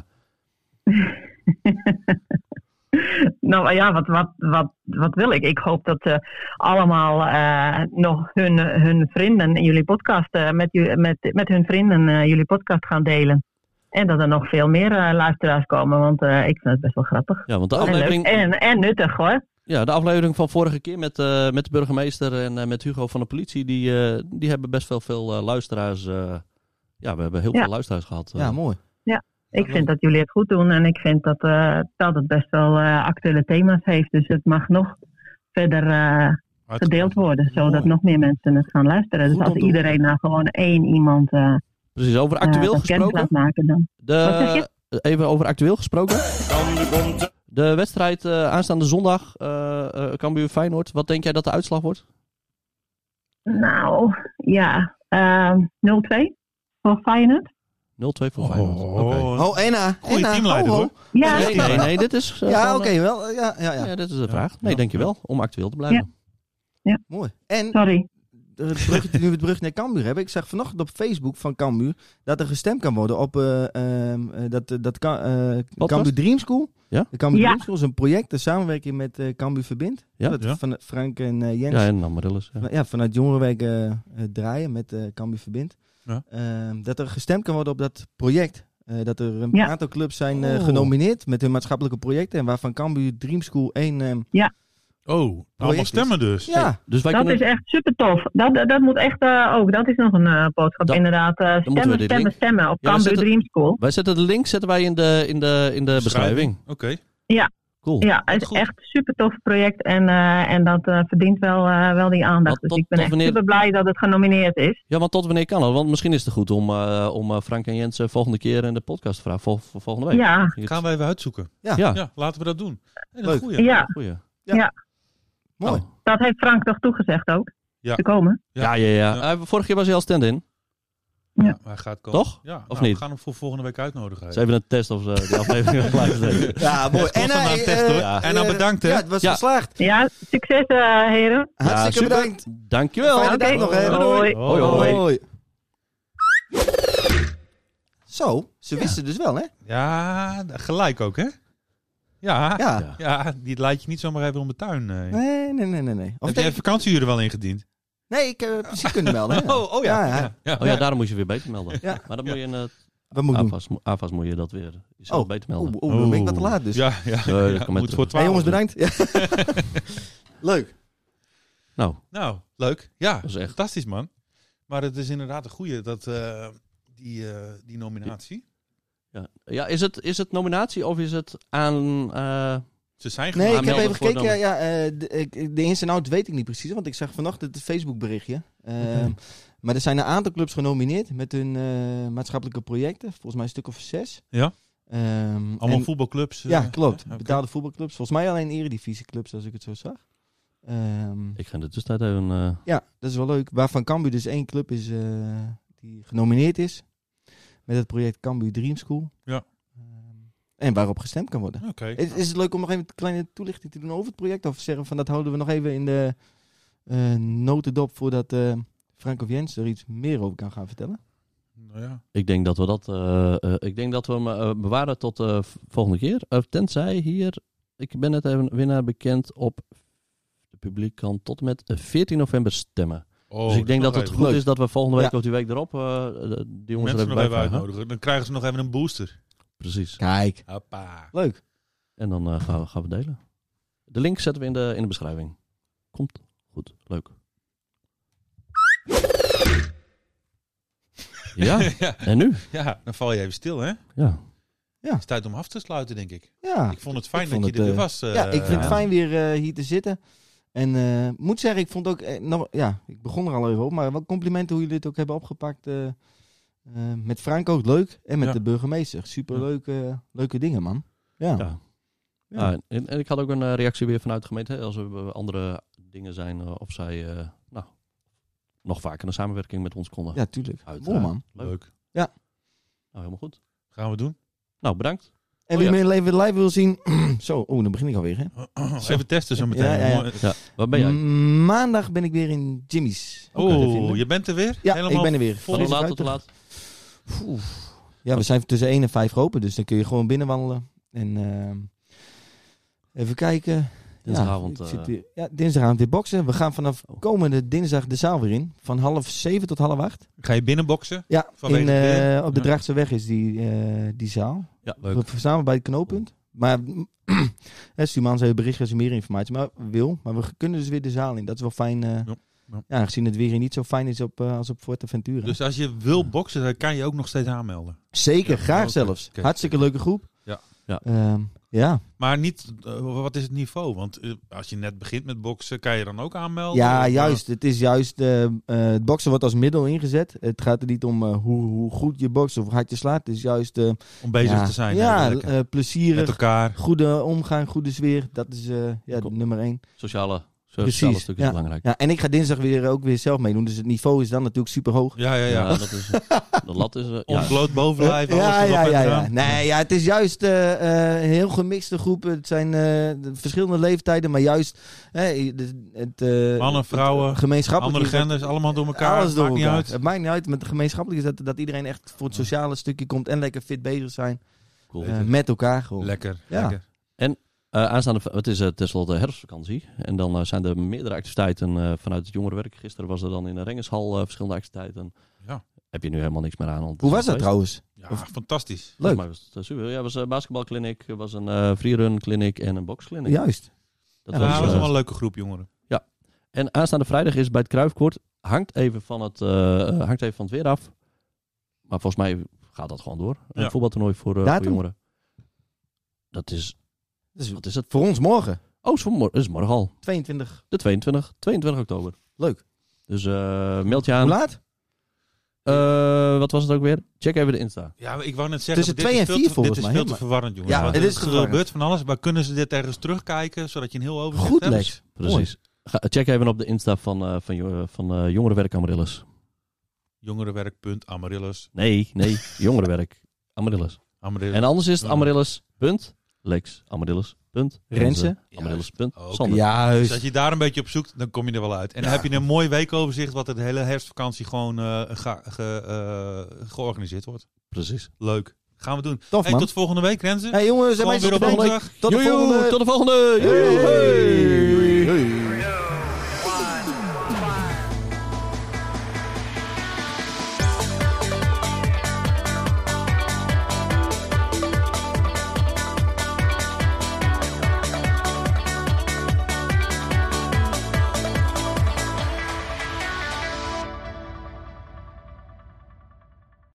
Speaker 7: nou ja, wat, wat, wat, wat wil ik? Ik hoop dat eh, allemaal eh, nog hun, hun vrienden jullie podcast, eh, met, ju- met, met hun vrienden eh, jullie podcast gaan delen. En dat er nog veel meer eh, luisteraars komen, want eh, ik vind het best wel grappig.
Speaker 2: ja, want
Speaker 3: Oh,
Speaker 2: de
Speaker 7: En, leuk.
Speaker 2: aflevering,
Speaker 7: en, en nuttig hoor.
Speaker 2: ja, de aflevering van vorige keer met, eh, met de burgemeester en eh, met Hugo van de politie... die, eh, die hebben best wel veel eh, luisteraars... eh, ja, we hebben heel
Speaker 7: Ja.
Speaker 2: veel luisteraars gehad. eh.
Speaker 3: Ja, mooi.
Speaker 7: Ik vind dat jullie het goed doen en ik vind dat, eh, dat het best wel eh, actuele thema's heeft. Dus het mag nog verder eh, gedeeld worden, zodat
Speaker 3: Mooi.
Speaker 7: nog meer mensen het gaan luisteren.
Speaker 3: Goed
Speaker 7: dus
Speaker 3: om
Speaker 7: als
Speaker 3: te
Speaker 7: iedereen nou gewoon één iemand eh
Speaker 2: Precies, over actueel
Speaker 7: eh, bekend
Speaker 2: gesproken.
Speaker 7: laat maken, dan Wat zeg
Speaker 2: De,
Speaker 7: je?
Speaker 2: even over actueel gesproken. De wedstrijd eh, aanstaande zondag, eh eh Cambuur Feyenoord. Wat denk jij dat de uitslag wordt?
Speaker 7: Nou, ja. eh, 0-2 voor Feyenoord.
Speaker 2: 0-2 voor Feyenoord. Oké.
Speaker 3: Oh, Anna.
Speaker 1: Goeie
Speaker 3: Anna,
Speaker 1: teamleider,
Speaker 3: ho, ho.
Speaker 1: hoor.
Speaker 7: Ja,
Speaker 2: Nee, nee, nee, dit is. eh,
Speaker 3: Ja,
Speaker 2: Oh, gewoon,
Speaker 3: oké, wel. eh, Ja, ja,
Speaker 2: eh,
Speaker 3: ja,
Speaker 2: Ja. dit is de vraag. Nee,
Speaker 1: Ja.
Speaker 2: dankjewel. Om actueel te blijven.
Speaker 3: mooi. En
Speaker 7: sorry.
Speaker 3: eh, het brug, nu we het brug naar Cambuur hebben. Ik zag vanochtend op Facebook van Cambuur dat er gestemd kan worden op eh, ehm, eh, dat, eh, dat Ka- eh, Cambuur Dream School.
Speaker 2: Ja?
Speaker 3: De Cambuur
Speaker 7: Ja.
Speaker 3: Dream School is een project, een samenwerking met eh Cambuur Verbind.
Speaker 2: Ja,
Speaker 3: Dat
Speaker 1: ja.
Speaker 3: Van Frank en eh, Jens
Speaker 2: Ja, en Amarillus. Ja.
Speaker 3: van- ja, vanuit Jongerenwerk eh, eh, draaien met eh Cambuur Verbind.
Speaker 1: Ja.
Speaker 3: Ehm, dat er gestemd kan worden op dat project. Eh, dat er een
Speaker 7: Ja.
Speaker 3: aantal clubs zijn eh,
Speaker 1: Oh.
Speaker 3: genomineerd met hun maatschappelijke projecten. En waarvan Cambuur Dream School één... ehm,
Speaker 1: Oh, allemaal
Speaker 3: Project
Speaker 1: stemmen dus.
Speaker 3: ja,
Speaker 2: Dus wij
Speaker 7: Dat
Speaker 2: kunnen.
Speaker 7: is echt super tof. Dat, dat moet echt eh, ook. Dat is nog een eh, boodschap.
Speaker 2: Dat-
Speaker 7: Inderdaad, eh,
Speaker 2: we
Speaker 7: stemmen,
Speaker 2: dit
Speaker 7: stemmen,
Speaker 2: link-
Speaker 7: stemmen
Speaker 2: Ja,
Speaker 7: op
Speaker 2: we
Speaker 7: Cambuur
Speaker 2: zetten-
Speaker 7: Dream School.
Speaker 2: Wij zetten de link zetten wij in de, in de, in de beschrijving.
Speaker 1: Oké.
Speaker 2: Cool.
Speaker 7: Ja,
Speaker 1: dat is
Speaker 7: het is
Speaker 1: goed.
Speaker 7: echt super tof project en, eh, en dat eh, verdient wel, eh, wel die aandacht.
Speaker 2: Tot-
Speaker 7: dus ik ben
Speaker 2: tot
Speaker 7: echt
Speaker 2: wanneer-
Speaker 7: super blij dat het genomineerd is.
Speaker 2: Ja, want tot wanneer kan dat? Want misschien is het goed om, eh, om eh, Frank en Jens eh, volgende keer in de podcast te vragen. Vol, voor volgende week.
Speaker 7: Ja,
Speaker 1: Gaan we even uitzoeken.
Speaker 2: Ja.
Speaker 1: Ja, laten we dat doen. Hey, dat
Speaker 3: Leuk.
Speaker 1: is goeie.
Speaker 7: ja,
Speaker 2: Goeie.
Speaker 3: mooi.
Speaker 2: Oh.
Speaker 7: dat heeft Frank toch toegezegd ook.
Speaker 1: Ja.
Speaker 7: Te komen.
Speaker 2: Ja, ja, ja.
Speaker 1: Ja.
Speaker 2: Eh, vorige keer was hij al stand-in.
Speaker 7: Ja.
Speaker 1: Ja, hij gaat komen.
Speaker 2: Toch?
Speaker 1: Ja,
Speaker 2: Of
Speaker 1: nou,
Speaker 2: niet?
Speaker 1: We gaan hem voor volgende week uitnodigen.
Speaker 2: Dus even een test of ze die aflevering wel luisteren.
Speaker 3: Ja, mooi.
Speaker 1: Het kost
Speaker 3: Anna,
Speaker 1: hem aan
Speaker 3: eh,
Speaker 1: testen, hoor.
Speaker 3: eh,
Speaker 1: Anna,
Speaker 3: eh,
Speaker 1: bedankt, hè?
Speaker 3: Ja, het was
Speaker 2: Ja.
Speaker 3: geslaagd.
Speaker 7: Ja, succes eh, heren.
Speaker 3: Hartstikke
Speaker 2: super.
Speaker 3: bedankt.
Speaker 2: Dankjewel.
Speaker 3: Fijne
Speaker 7: Oké.
Speaker 3: Oh, dag nog, hè.
Speaker 7: Doei. Hoi.
Speaker 2: Hoi, hoi.
Speaker 3: Zo, ze wisten dus wel, hè?
Speaker 1: Ja, gelijk ook, hè? Ja. Ja,
Speaker 3: Ja.
Speaker 1: die leidt je niet zomaar even om de tuin. eh.
Speaker 3: Nee, nee, nee, nee. nee. Of
Speaker 1: Heb jij
Speaker 3: nee,
Speaker 1: vakantieuren wel ingediend?
Speaker 3: nee, ik heb precies kunnen melden. hè. Ja, ja.
Speaker 2: Oh ja, daarom moet je weer beter melden.
Speaker 3: Ja.
Speaker 2: Maar dan moet je in het
Speaker 3: Wat moet ik doen?
Speaker 2: AFAS, mo- AFAS moet je dat weer jezelf
Speaker 3: Oh,
Speaker 2: beter melden.
Speaker 3: Oeh, oeh, dan ben ik wat te laat dus.
Speaker 1: Ja, ja.
Speaker 2: Nee, dat
Speaker 1: ja,
Speaker 2: kan maar
Speaker 1: moet voor
Speaker 2: terug.
Speaker 3: Hey, jongens,
Speaker 1: 12.
Speaker 3: bedankt. Ja. Leuk.
Speaker 2: Nou,
Speaker 1: Nou, leuk. Ja,
Speaker 2: Dat is echt-
Speaker 1: fantastisch man. Maar het is inderdaad een goeie, dat, eh, die, eh, die nominatie.
Speaker 2: ja. ja is, het, is het nominatie of is het aan... eh,
Speaker 1: Ze zijn
Speaker 3: Nee, ik
Speaker 1: gemaakt.
Speaker 3: heb
Speaker 2: melden
Speaker 3: even
Speaker 2: voor
Speaker 3: gekeken.
Speaker 2: dan.
Speaker 3: Ja, ja, eh, de, ik- de ins en outs weet ik niet precies, want ik zag vanochtend het Facebook berichtje. Ehm, Maar er zijn een aantal clubs genomineerd met hun eh, maatschappelijke projecten. Volgens mij een stuk of zes.
Speaker 1: Ja.
Speaker 3: Ehm,
Speaker 1: Allemaal
Speaker 3: en-
Speaker 1: voetbalclubs. eh,
Speaker 3: Ja, klopt.
Speaker 1: oké.
Speaker 3: Betaalde voetbalclubs. Volgens mij alleen eredivisieclubs, als ik het zo zag. Ehm,
Speaker 2: Ik ga in de tussentijd even... eh,
Speaker 3: ja, dat is wel leuk. Waarvan Cambuur dus één club is eh, die genomineerd is. Met het project Cambuur Dream School.
Speaker 1: Ja.
Speaker 3: Ehm, en waarop gestemd kan worden.
Speaker 1: Oké.
Speaker 3: Is, is het leuk om nog even een kleine toelichting te doen over het project? Of zeggen van dat houden we nog even in de eh notendop voordat eh Frank of Jens er iets meer over kan gaan vertellen?
Speaker 1: Nou ja.
Speaker 2: Ik denk dat we dat, eh, eh, ik denk dat we hem eh, bewaren tot de volgende keer. Eh, tenzij hier, ik ben net even winnaar bekend op de publiek kan tot en met eh, 14 november stemmen.
Speaker 1: Oh,
Speaker 2: dus ik denk dat
Speaker 1: nog
Speaker 2: het
Speaker 1: even.
Speaker 2: goed
Speaker 3: Leuk.
Speaker 2: is dat we volgende week
Speaker 3: Ja.
Speaker 2: of die week erop eh, de- die jongens
Speaker 1: Mensen
Speaker 2: er
Speaker 1: nog even
Speaker 2: even bij vragen.
Speaker 1: uitnodigen. Dan krijgen ze nog even een booster.
Speaker 2: Precies.
Speaker 3: Kijk.
Speaker 1: Hoppa.
Speaker 3: Leuk.
Speaker 2: En dan eh, gaan, we, gaan we delen. De link zetten we in de, in de beschrijving. Komt goed, leuk. Ja,
Speaker 1: ja,
Speaker 2: en nu?
Speaker 1: ja, dan val je even stil, hè? Het
Speaker 2: Ja.
Speaker 1: is tijd om af te sluiten, denk ik.
Speaker 3: Ja.
Speaker 1: Ik vond het fijn
Speaker 3: Ik
Speaker 1: dat
Speaker 3: vond
Speaker 1: je
Speaker 3: het,
Speaker 1: er weer
Speaker 3: eh,
Speaker 1: was. eh,
Speaker 3: ja, ik vind het
Speaker 2: ja.
Speaker 3: fijn weer eh, hier te zitten. En eh, moet zeggen, ik vond ook, eh, nou, ja, ik begon er al even op, maar wel complimenten hoe jullie het ook hebben opgepakt. eh, eh, met Frank ook leuk en met
Speaker 1: Ja.
Speaker 3: de burgemeester. Super leuke, leuke dingen, man. Ja.
Speaker 2: Ja.
Speaker 3: Ja.
Speaker 2: Ah, en, en ik had ook een eh, reactie weer vanuit de gemeente. hè, Als er eh, andere dingen zijn, eh, of zij eh, nou, nog vaker een samenwerking met ons konden.
Speaker 3: Ja, tuurlijk. Mooi,
Speaker 2: Uiteraard.
Speaker 1: Oh,
Speaker 3: man.
Speaker 2: Leuk.
Speaker 1: Leuk.
Speaker 2: Nou, helemaal goed.
Speaker 1: Gaan we doen.
Speaker 2: Nou, bedankt.
Speaker 3: En
Speaker 2: Oh,
Speaker 3: wie
Speaker 2: ja.
Speaker 3: meer leven live wil zien, zo, oh, dan begin ik alweer, hè.
Speaker 1: Even testen zo meteen.
Speaker 3: Ja, ja, ja.
Speaker 1: Mooi.
Speaker 2: Ja, waar ben
Speaker 3: Mm.
Speaker 2: jij?
Speaker 3: M- Maandag ben ik weer in Jimmy's. Ook uit te
Speaker 1: Oh,
Speaker 3: vinden.
Speaker 1: je bent er weer?
Speaker 3: ja,
Speaker 1: Helemaal
Speaker 3: ik ben er weer.
Speaker 1: vol
Speaker 2: Van
Speaker 1: Fris
Speaker 2: hoe
Speaker 3: Deze
Speaker 2: laat
Speaker 3: fruit
Speaker 2: tot hoe
Speaker 3: terug.
Speaker 2: laat?
Speaker 3: Ja, we zijn tussen 1 en 5 open, dus dan kun je gewoon binnenwandelen. En ehm, even kijken.
Speaker 2: Dinsdagavond,
Speaker 3: Ja, ik
Speaker 2: eh.
Speaker 3: zit weer- ja, dinsdagavond weer boksen. We gaan vanaf
Speaker 2: Oh.
Speaker 3: komende dinsdag de zaal weer in. Van half 7 tot half 8.
Speaker 1: Ga je binnenboksen?
Speaker 3: Ja,
Speaker 1: Vanwege
Speaker 3: in,
Speaker 1: het weer?
Speaker 3: eh, op de
Speaker 1: Ja.
Speaker 3: Drachtseweg is die, eh, die zaal.
Speaker 2: Ja,
Speaker 3: We
Speaker 2: leuk.
Speaker 3: verzamelen bij het knooppunt. Maar hè, Sumans heeft bericht als je meer informatie maar wil. Maar we kunnen dus weer de zaal in. Dat is wel fijn. eh,
Speaker 1: Ja,
Speaker 3: ja,
Speaker 1: ja.
Speaker 3: gezien het weer hier niet zo fijn is op, eh, als op Forteventura.
Speaker 1: Dus als je wil boksen, dan kan je ook nog steeds aanmelden.
Speaker 3: Zeker,
Speaker 1: Ja,
Speaker 3: graag
Speaker 1: oké.
Speaker 3: zelfs.
Speaker 1: Oké.
Speaker 3: Hartstikke leuke groep.
Speaker 1: Ja.
Speaker 2: Ja.
Speaker 3: Ehm, ja.
Speaker 1: Maar niet, eh, wat is het niveau? Want eh, als je net begint met boksen, kan je dan ook aanmelden?
Speaker 3: ja,
Speaker 1: Of, eh,
Speaker 3: juist. Het is juist. eh, eh, het boksen wordt als middel ingezet. Het gaat er niet om eh, hoe, hoe goed je bokst of hoe hard je slaat. Het is juist. eh,
Speaker 1: om bezig
Speaker 3: ja,
Speaker 1: te zijn.
Speaker 3: Ja,
Speaker 1: Ja, lekker.
Speaker 3: eh,
Speaker 1: met
Speaker 3: plezierig.
Speaker 1: elkaar.
Speaker 3: Goede omgang, goede sfeer. Dat is eh, ja,
Speaker 2: Kom.
Speaker 3: nummer één.
Speaker 2: Sociale,
Speaker 3: Precies,
Speaker 2: sociale stuk is
Speaker 3: ja.
Speaker 2: belangrijk.
Speaker 3: Ja, en ik ga dinsdag weer, ook weer zelf meedoen. Dus het niveau is dan natuurlijk super hoog.
Speaker 1: Ja, ja, ja.
Speaker 2: dat is, de lat is... eh, ja.
Speaker 1: Ontbloot bovenlijf. alles
Speaker 3: ja,
Speaker 1: erop
Speaker 3: ja,
Speaker 1: en
Speaker 3: ja, ja.
Speaker 1: eraan.
Speaker 3: Nee, ja, het is juist eh, eh, een heel gemixte groep. Het zijn eh, de verschillende leeftijden, maar juist hè, de- het, eh,
Speaker 1: Mannen, vrouwen,
Speaker 3: het gemeenschappelijk
Speaker 1: andere
Speaker 3: is dat-
Speaker 1: genders, allemaal door elkaar.
Speaker 3: Alles door
Speaker 1: Maakt
Speaker 3: elkaar.
Speaker 1: niet uit.
Speaker 3: Het maakt niet uit, maar het gemeenschappelijk is dat, dat iedereen echt voor het sociale stukje komt en lekker fit bezig zijn
Speaker 2: Cool.
Speaker 3: eh, met elkaar. Gewoon.
Speaker 1: Lekker,
Speaker 3: Ja.
Speaker 1: lekker.
Speaker 2: Eh, aanstaande, het is eh, tenslotte herfstvakantie. En dan eh, zijn er meerdere activiteiten eh, vanuit het jongerenwerk. Gisteren was er dan in de Rengenshal eh, verschillende activiteiten.
Speaker 1: Ja.
Speaker 2: Heb je nu helemaal niks meer aan. want het
Speaker 3: Hoe
Speaker 2: is
Speaker 3: was dat
Speaker 2: feest.
Speaker 3: trouwens?
Speaker 1: Ja,
Speaker 3: Of-
Speaker 1: fantastisch.
Speaker 3: Leuk.
Speaker 2: Maar was het, eh, super. Ja, er was een basketbalkliniek, er was een eh freerun kliniek en een boxkliniek.
Speaker 3: Juist.
Speaker 2: Dat
Speaker 3: Ja,
Speaker 1: Ja,
Speaker 2: was,
Speaker 1: dat was
Speaker 2: eh,
Speaker 1: wel een leuke groep jongeren.
Speaker 2: en aanstaande vrijdag is bij het Kruifkoord. Hangt even van het, eh, eh, hangt even van het weer af. Maar volgens mij gaat dat gewoon door. Een
Speaker 1: Ja.
Speaker 2: voetbaltoernooi voor, eh, voor
Speaker 3: Datum?
Speaker 2: jongeren. Dat is,
Speaker 3: Dat is
Speaker 2: wat is dat?
Speaker 3: voor ons morgen,
Speaker 2: Oh, is, voor mor- is morgen al.
Speaker 3: 22.
Speaker 2: De 22, 22 oktober.
Speaker 3: Leuk.
Speaker 2: Dus eh meld je
Speaker 3: Hoe
Speaker 2: aan.
Speaker 3: laat?
Speaker 2: Eh, wat was het ook weer? Check even de Insta.
Speaker 1: Ja, maar ik wou net zeggen,
Speaker 3: Tussen
Speaker 1: dit
Speaker 3: twee
Speaker 1: is
Speaker 3: en
Speaker 1: veel
Speaker 3: vier
Speaker 1: te-
Speaker 3: volgens
Speaker 1: Dit is
Speaker 3: mij,
Speaker 1: veel te
Speaker 3: maar-
Speaker 1: vervelaren, jongen.
Speaker 3: Ja,
Speaker 1: Want
Speaker 3: het is
Speaker 1: er
Speaker 3: verwarrend.
Speaker 1: gebeurt van alles, maar kunnen ze dit ergens terugkijken, zodat je een heel overzicht
Speaker 3: Goed,
Speaker 1: hebt?
Speaker 3: Lex.
Speaker 2: Precies. Ga, check even op de Insta van, eh van, jo- van eh, Jongerenwerk Amaryllis.
Speaker 1: Jongerenwerk. Amaryllis.
Speaker 2: Nee, nee, Jongerenwerk Amaryllis.
Speaker 1: Amaryllis. Dus
Speaker 2: En anders is het
Speaker 1: Ja.
Speaker 3: Rensen.
Speaker 1: Oké.
Speaker 2: amaryllis.lex.amaryllis.amaryllis.sander.
Speaker 1: Dus als
Speaker 3: Juist.
Speaker 1: je daar een beetje op zoekt, dan kom je er wel uit. En dan heb je een mooi weekoverzicht, wat het hele herfstvakantie gewoon eh, ga- ge- eh, georganiseerd wordt.
Speaker 2: Precies.
Speaker 1: Leuk. Gaan we doen.
Speaker 3: Tof,
Speaker 1: Hey,
Speaker 3: man.
Speaker 1: tot volgende week, Renze.
Speaker 3: Hey jongens, en
Speaker 1: Gewoon
Speaker 3: meisjes,
Speaker 1: weer op
Speaker 3: bedankt.
Speaker 1: woensdag.
Speaker 3: Tot de
Speaker 2: Joejoe,
Speaker 3: volgende.
Speaker 2: Tot de volgende. Joejoe.
Speaker 3: Hey. Hey.